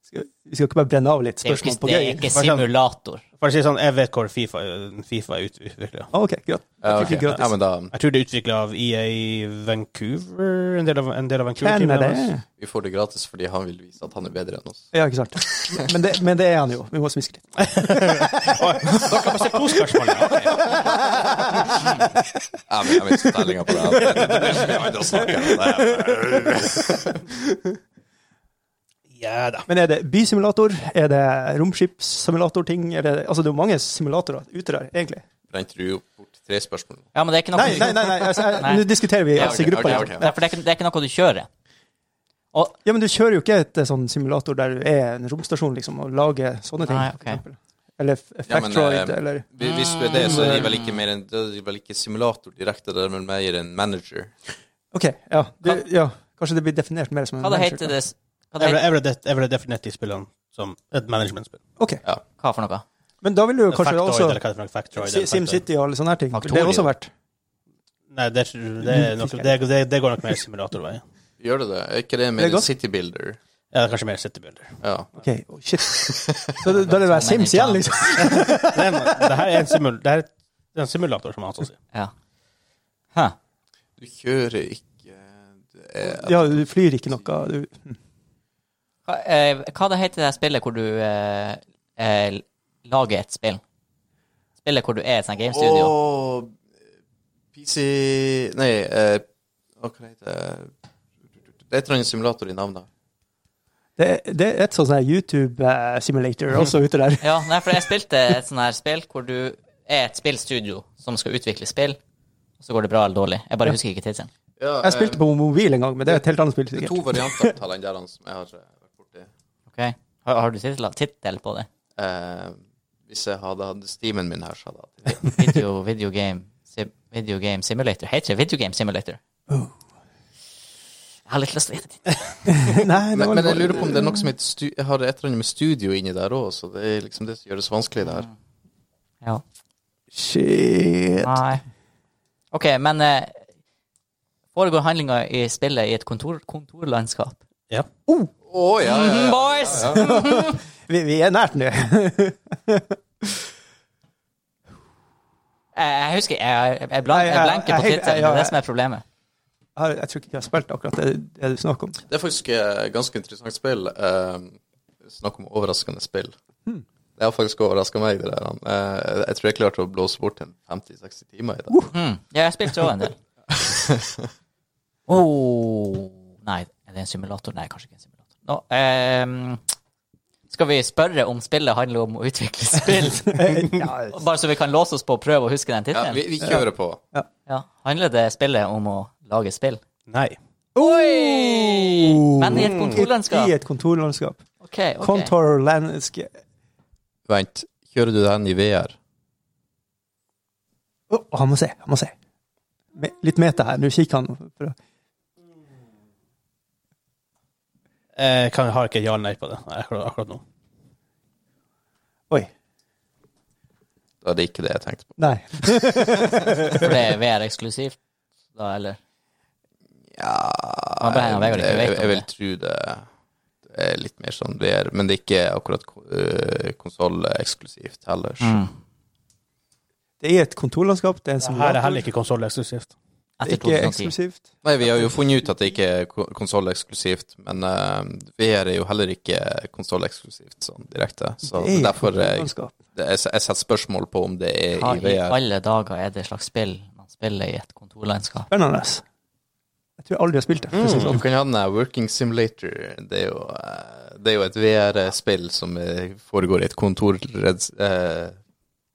S2: Skal, vi skal ikke bare brenne av litt
S1: Det er jo ikke,
S2: spørsmål på
S1: det
S2: gøy?
S1: er ikke simulator.
S3: For å si det sånn, jeg vet hvor Fifa, eh, FIFA er ut- utviklet.
S2: Ah, ok, greit.
S4: Ja,
S2: Jeg fikk
S4: ok.
S2: gratis.
S4: ja, men da
S3: Jeg tror det er utviklet av EA Vancouver, en del av, en del av Vancouver.
S2: Kan er det?
S4: Vi får det gratis fordi han vil vise at han er bedre enn oss.
S2: Ja, ikke sant. Men det, men det er han jo. Vi må smiske litt.
S3: altså. Dere har bestilt to spørsmål. ja, ok.
S4: Ja, men jeg vet ikke tellinga på det. her. Det blir så mye annet å snakke om. Det er-
S3: Ja da.
S2: Men er det bysimulator? Er det romskipssimulatorting? Er det- Altså, det er jo mange simulatorer ute der, egentlig.
S4: Brente du bort tre spørsmål?
S1: Ja, men det er ikke noe
S2: Nei, nei, nei, nei, altså, jeg, nå diskuterer vi
S4: Ja,
S2: oss i
S4: ok,
S2: gruppa.
S4: ok,
S2: liksom.
S4: ok.
S1: Nei, for det er, ikke, det er ikke noe du kjører. Og,
S2: Ja, men du kjører jo ikke et eh, sånn simulator der du er en romstasjon, liksom, og lager sånne ting.
S1: Nei, ok.
S2: for eksempel. Eller F-
S4: Ja, men,
S2: Factroid,
S4: eh,
S2: eller
S4: Hvis- Hvis du er det, så er det vel ikke, mer en, det er vel ikke simulator direkte, det er vel mer en manager.
S2: OK, ja, du, ja. Kanskje det blir definert mer som en
S1: hva det
S2: manager,
S1: heter
S2: da.
S1: det Hva det
S3: Jeg vil-
S1: heter
S3: jeg vil det- jeg vil definitivt spille den som et management-spill.
S2: OK.
S1: hva for noe?
S2: Men da vil du jo kanskje
S3: Factoid,
S2: også
S3: eller hva det er for noe, Factoid,
S2: Si-
S3: eller Factoid.
S2: SimCity og alle sånne her ting. Det
S1: Factorio.
S2: har også vært.
S3: Nei, det, er ikke- det,
S2: Mm,
S3: er nok, det, det, det går nok mer simulatorvei.
S4: Gjør det det? Er ikke det
S2: Det er
S4: mer en
S2: godt.
S4: city builder?
S3: Ja, det er kanskje mer City Builder.
S4: Ja.
S2: OK, oh, shit. Så det, da vil det være Sims igjen, liksom.
S3: Det, er en- det her er en, simul, det her er en simulator, som han også sier.
S1: Ja. Hæ.
S4: Du kjører ikke det er,
S2: Ja, du flyr ikke noe. Du,
S1: Hva, eh, hva det heter det spillet hvor du eh, eh, lager et spill? Spillet hvor du er sånn et sånt gamestudio?
S4: Og PC Nei, eh, hva heter det? Det er et eller annet simulator i navnet.
S2: det, det er et sånt sånn her YouTube-simulator også ute der.
S1: Ja, nei, for jeg spilte et sånt her spill hvor du er et spillstudio som skal utvikle spill, og så går det bra eller dårlig. Jeg bare husker ikke tidselen.
S4: Ja,
S2: Jeg spilte på mobil en gang, men det er et helt annet spill.
S4: Det er
S2: sikkert.
S4: to varianter av den der som jeg har eh, vært borti.
S1: Ok? Har, har du tittel, tittel på det?
S4: Eh, hvis jeg hadde hatt steamen min her, så hadde jeg hatt det.
S1: Video, video, game, sim, video game Simulator. Heter det Video Game Simulator? Jeg har litt lyst til å gjette tittel.
S2: Nei, det
S4: Men,
S2: var
S4: men jeg
S2: litt-
S4: lurer på om det er noe som heter stu Jeg har et eller annet med studio inni der òg, så det er liksom det som gjør det så vanskelig det her.
S1: Ja.
S2: Shit.
S1: Nei. Ok, men eh, foregår handlinga i spillet i et kontor, kontorlandskap?
S3: Ja.
S4: Å, ja, ja,
S1: Mhm,
S4: ja.
S1: Boys!
S2: Vi, vi er nært nå.
S1: Eh, Jeg husker Jeg, jeg, blan-
S2: Nei,
S1: jeg
S2: jeg-
S1: blenker på
S2: jeg- jeg-
S1: tittelen. Det
S2: ja,
S1: er det
S2: jeg-
S1: som er problemet.
S2: Jeg, jeg tror ikke jeg har spilt akkurat det, det du snakker om.
S4: Det er faktisk et ganske interessant spill. Eh, snakk om overraskende spill. Det har faktisk overraska meg, det der. han. Eh, jeg tror jeg klarte å blåse bort en 50-60 timer i dag.
S1: Hmm. Ja, jeg spilte òg en del. oh. Nei, er det en simulator? Nei, kanskje ikke en simulator. Nå, ehm, skal vi spørre om spillet handler om å utvikle spill?
S2: Ja,
S1: Bare så vi kan låse oss på å prøve å huske den
S4: Ja,
S1: tittelen?
S4: vi, vi kjører på.
S1: Ja. Handler det spillet om å lage spill?
S3: Nei.
S1: Oi! Men i et kontorlandskap?
S2: Oh! I et kontorlandskap.
S1: OK. ok.
S2: Kontorlandskap
S4: Vent, kjører du den i VR?
S2: Å, Han må se, han må se. Me- Litt meta her. Nå kikker han. for å-
S3: Jeg kan, har ikke ja eller nei på det Nei, akkurat, akkurat nå.
S2: Oi.
S4: Da er det ikke det jeg tenkte på.
S2: Nei.
S1: For det er VR eksklusivt, da, eller?
S4: Ja
S1: Ja, det er en Vegard
S4: jeg,
S1: ikke vet om
S4: jeg, Eh, jeg vil
S1: det.
S4: tro det er litt mer sånn VR, men det er ikke akkurat konsolleksklusivt heller.
S1: Mm.
S2: Det er i et kontorlandskap. Det er en
S3: Det her er
S2: simulator.
S3: heller ikke konsoll eksklusivt.
S2: Det
S1: Etter
S2: er ikke
S1: 2010.
S2: eksklusivt.
S4: Nei, vi har jo funnet ut at det ikke er konsolleksklusivt, men eh, VR er jo heller ikke konsolleksklusivt sånn direkte. Så
S2: Det er i et
S4: derfor eh,
S2: kontorlandskap.
S4: det- jeg, jeg setter spørsmål på om det er
S1: Hva
S4: i
S1: i
S4: VR.
S1: alle dager er det slags spill man spiller i et kontorlandskap?
S2: Spennende. Jeg tror jeg aldri har spilt det. for å si det
S4: Du
S2: sånn.
S4: kan ha den der Working Simulator. Det er jo, eh, det er jo et VR-spill som eh, foregår i et kontor eh,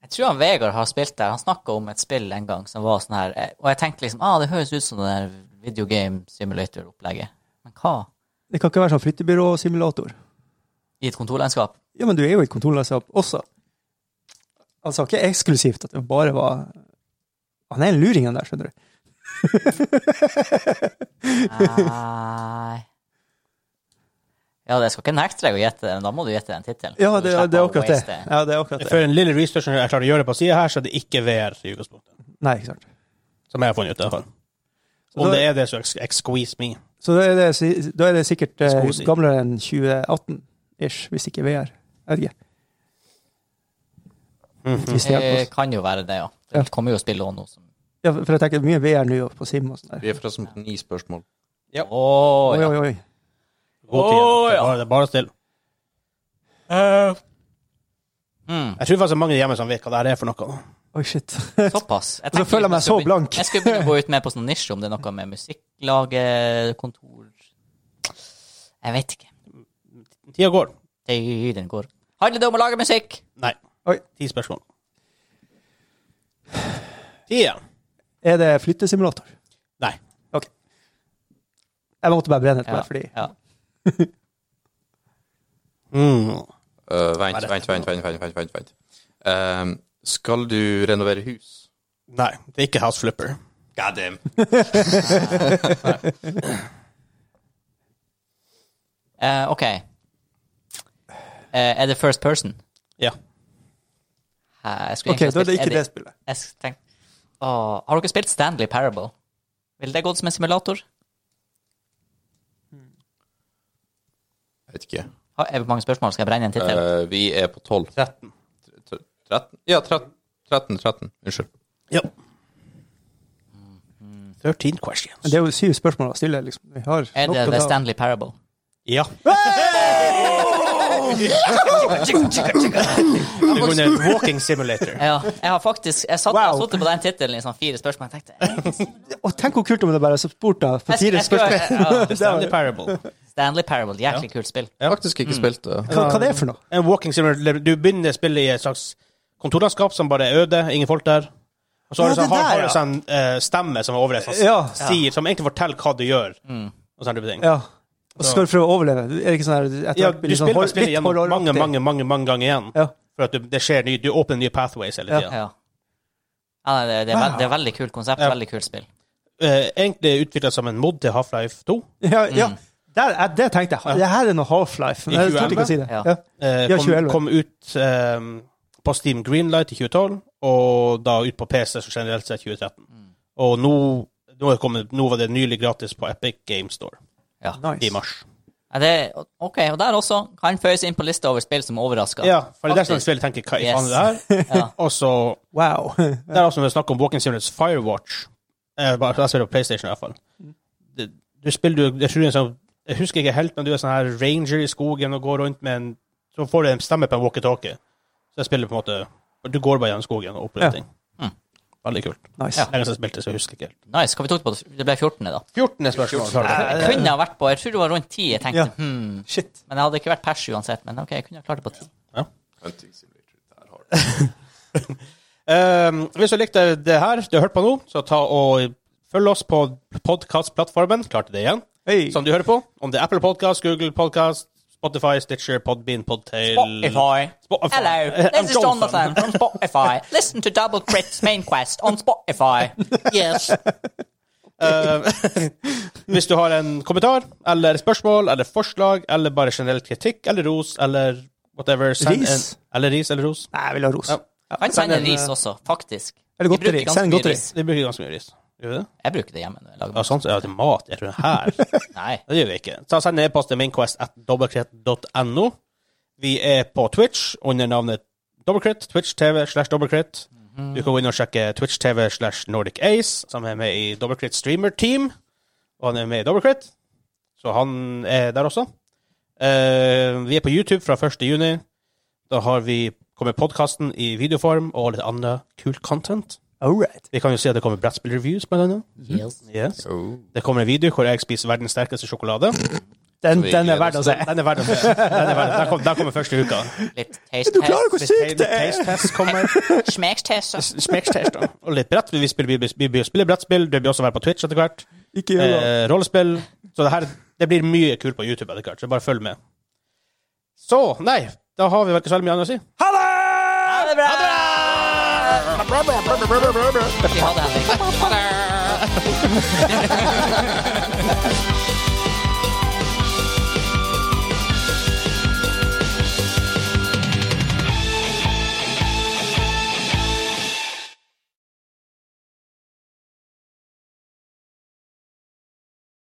S1: Jeg tror han Vegard har spilt det. Han snakka om et spill en gang som var sånn her, eh, og jeg tenkte liksom ah, det høres ut som det der video game simulator-opplegget. Men hva?
S2: Det kan ikke være sånn flyttebyråsimulator.
S1: I et kontorlandskap?
S2: Ja, men du er jo i et kontorlandskap også. Han sa ikke eksklusivt at det bare var Han er en luring, han der, skjønner du.
S1: Nei Ja, det skal ikke nekte deg å gjette det, men da må du gjette den tittelen.
S2: Ja,
S1: Du
S2: det,
S1: slipper
S2: det er
S1: å
S2: akkurat det.
S1: waste
S2: Ja, det er akkurat
S3: For
S2: det.
S3: den lille researchen jeg klarer å gjøre på sida her, så er det ikke VR i utgangspunktet.
S2: Nei, ikke sant.
S3: Som jeg har funnet ut, i hvert fall.
S2: Så
S3: Om
S2: da-
S3: det er det, så ex- excuse me.
S2: Så da er det, si- da er det sikkert eh,
S3: Skosi.
S2: gamlere enn 2018-ish, hvis ikke VR. Jeg vet ikke.
S1: Mhm.
S2: Hvis det hjelper
S1: Det
S2: oss.
S1: kan jo være det, ja.
S2: Ja.
S1: Det kommer jo spill òg nå som
S2: Ja, for jeg tenker mye VR nå og på Sim og sånn der.
S4: Vi er forresten på ni spørsmål.
S1: Å,
S2: Oi,
S1: ja.
S2: oi, oi.
S3: God tid.
S1: Å,
S3: det,
S1: ja.
S3: er bare, det er bare still.
S1: Mm,
S3: Jeg tror faktisk det er mange hjemme som vet hva det her er for noe.
S2: Oi, shit.
S1: såpass. Jeg
S2: Og så
S1: tenkte
S2: føler
S1: liksom
S2: jeg meg så
S1: skulle begyn-
S2: blank.
S1: Jeg skulle begynne å gå ut med på sånn nisje, om det er noe med musikklage, kontor Jeg vet ikke.
S3: Tida går.
S1: Tiden går. Handler det om å lage musikk?
S3: Nei.
S2: Oi.
S3: Ti spørsmål. Tida.
S2: Er det flyttesimulator?
S3: Nei.
S2: Ok. Jeg måtte bare brenne et på det, fordi
S1: Ja.
S3: Mm.
S4: Øh,
S3: Hva er
S4: vent, vent, vent, vent, vent, vent, vent, vent. Ehm, skal du renovere hus?
S3: Nei, det er ikke House Flipper.
S4: God damn.
S1: Eh, OK. Eh, er det first person?
S3: Ja.
S1: Eh, jeg skulle
S2: OK,
S1: egentlig ha
S2: da er det
S1: spilt-
S2: ikke det spillet.
S1: Jeg sk- tenk, Åh, har dere spilt Stanley Parable? Ville det gått som en simulator?
S4: Jeg vet ikke.
S1: Har jeg mange spørsmål? Skal jeg brenne en
S2: Eh,
S1: tittel?
S4: Øh, vi er på 12.
S3: 13.
S4: 13? Ja, 13. 13, 13. Unnskyld.
S3: Ja. 13 questions.
S2: Men det er jo syv spørsmål å stille, liksom. Vi har
S1: er
S2: nok å
S1: det The
S2: ta av.
S1: Stanley Parable?
S3: Ja. Du vunnet Walking Simulator.
S1: Ja, jeg har faktisk Jeg satt wow.
S2: Wow.
S1: på den tittelen i sånn fire spørsmål. Jeg tenkte eh,
S2: Å, tenk hvor kult om det bare er spurt da, for
S1: jeg, jeg,
S2: fire spørsmål.
S1: skulle- ja,
S3: The Stanley Parable.
S1: Stanley Parable, jæklig kult spill.
S4: Jeg har faktisk ikke spilt eh. det.
S2: Hva, hva det er for noe?
S3: En Walking Simulator Du begynner spillet i et slags kontorlandskap som bare er øde, ingen folk der. Og så har
S2: Ja,
S3: du sånn,
S2: det
S3: har,
S2: der,
S3: har
S2: ja.
S3: du sånn eh, stemme som er over deg, som
S2: Ja.
S3: sier, som egentlig forteller hva du gjør. Og sånn type ting.
S2: Ja. Og så skal du prøve å overleve. Er det ikke sånn her etter
S3: Ja,
S2: hvert
S3: du
S2: blir det sånn
S3: spiller
S2: hor-
S3: bare spillet
S2: litt
S3: igjen mange,
S2: horroraktig?
S3: mange, mange, mange, ganger igjen.
S2: Ja.
S3: For at du, det skjer ny, du åpner nye pathways hele
S2: Ja.
S3: tida.
S1: Ja. Ja, nei, det, det, er veld, det er veldig kult konsept.
S3: Ja.
S1: Veldig kult spill.
S3: Eh, egentlig utvikla som en mod til Half-Life 2.
S2: Ja, ja. Der, er- det tenkte jeg. Det her er noe Half-Life. Men jeg
S3: I
S2: turte ikke å si det.
S1: Ja.
S2: Ja.
S3: Eh,
S2: Ja,
S3: kom,
S2: 2011.
S3: kom ut eh, på Steam Greenlight i 2012, og da ut på PC så generelt sett 2013. Og nå, nå, er det kommet, nå var det nylig gratis på Epic Game Store i
S2: Nice.
S3: mars.
S1: Ja, det, OK, og der også kan føyes inn på lista over spill som overrasker.
S3: Ja, for det er
S1: Faktisk.
S3: sånn spillet tenker hva i
S1: Yes.
S3: faen er det her?
S1: Ja.
S3: Og så
S2: Wow.
S3: Det er også når det er snakk om Walking Simulator Firewatch. Eh, bare- Jeg spiller på PlayStation, i hvert fall. Det- Du spiller du, jeg, tror det er en sånn, jeg husker ikke helt, men du er sånn her ranger i skogen og går rundt med en Så får du en stemme på en walkietalkie. Så jeg spiller på en måte Du går bare gjennom skogen og opplever
S2: Ja.
S3: ting.
S1: Mm.
S3: Veldig kult.
S2: Nice.
S3: Ja. Lenge siden jeg spilte, så jeg husker ikke helt.
S1: Nice. Hva vi tok på det? Det ble 14. da.
S3: 14 spørsmål.
S1: Jeg kunne ha vært på Jeg tror det var rundt 10. Jeg tenkte
S2: Ja.
S1: hmm.
S2: Shit.
S1: Men jeg hadde ikke vært pers uansett. Men OK, jeg kunne ha klart det på 10.
S4: Hunting Simulator, der har du.
S3: Um, hvis du likte det her, du har hørt på nå, så ta og følg oss på podkastplattformen. Klarte det igjen.
S2: Hey.
S3: Som du hører på. Om det er Apple Podcast, Google Podcast, Spotify, Stitcher, Podbean, Podtail
S1: Spotify.
S2: Eh,
S3: Spotify.
S1: Hello,
S3: I'm
S1: this is
S3: Jonathan.
S1: Jonathan from Spotify. Listen to Double Crit's main quest on Spotify. Yes.
S3: Eh, hvis du har en kommentar, eller spørsmål, eller forslag, eller bare generell kritikk, eller ros, eller whatever send
S2: Ris.
S3: En, Eller ris, eller ros.
S2: Nei, jeg vil ha ros.
S3: Ja.
S1: Kan sende
S2: en,
S1: ris også, faktisk.
S2: Eller
S1: Vi
S2: godteri.
S1: bruker ganske
S2: Send
S1: mye
S2: godteri.
S1: ris.
S3: Vi bruker ganske mye ris. Gjør vi det?
S1: Jeg bruker det hjemme når jeg lager
S3: Ja,
S1: mat.
S3: sånn, ja, til mat. Jeg tror det her.
S1: Nei.
S3: Det gjør vi ikke. Så Send en e-post til minquest.dobbeltkritt.no. Vi er på Twitch under navnet Dobbeltkritt, Twitch TV slash Dobbeltkritt. Du kan gå inn og sjekke Twitch TV slash Nordic Ace, som er med i Dobbeltkritt Streamer Team. Og han er med i Dobbeltkritt, så han er der også. Eh, vi er på YouTube fra 1. juni. Da har vi kommer podkasten i videoform og litt annet kult content.
S2: All right.
S3: Vi kan jo si at det kommer brettspillreviews, blant annet.
S2: Mm.
S1: Yes.
S3: Yes.
S4: Oh.
S3: Det kommer en video hvor jeg spiser verdens sterkeste sjokolade.
S2: Den,
S4: Så vi
S2: den er
S4: gleder
S2: verdt å
S4: oss.
S2: se.
S3: Altså, Den er verdt å se. Den er verdt- den kom- Den kommer første uka.
S1: Litt taste
S2: Du klarer hvor sykt det er!
S3: Taste test kommer.
S1: test. Smakstest. altså. og-
S3: Smekstest, da. Og litt brett. Vi spiller, vi vi blir å spille brettspill. Det blir også å være på Twitch etter hvert.
S2: Ikke gjør det.
S3: Eh, rollespill. Så det her det blir mye kult på YouTube etter hvert. Så bare følg med. Så, nei. Da har vi vel ikke så veldig mye annet å si.
S1: Ha det bra! Vi har det, Henrik.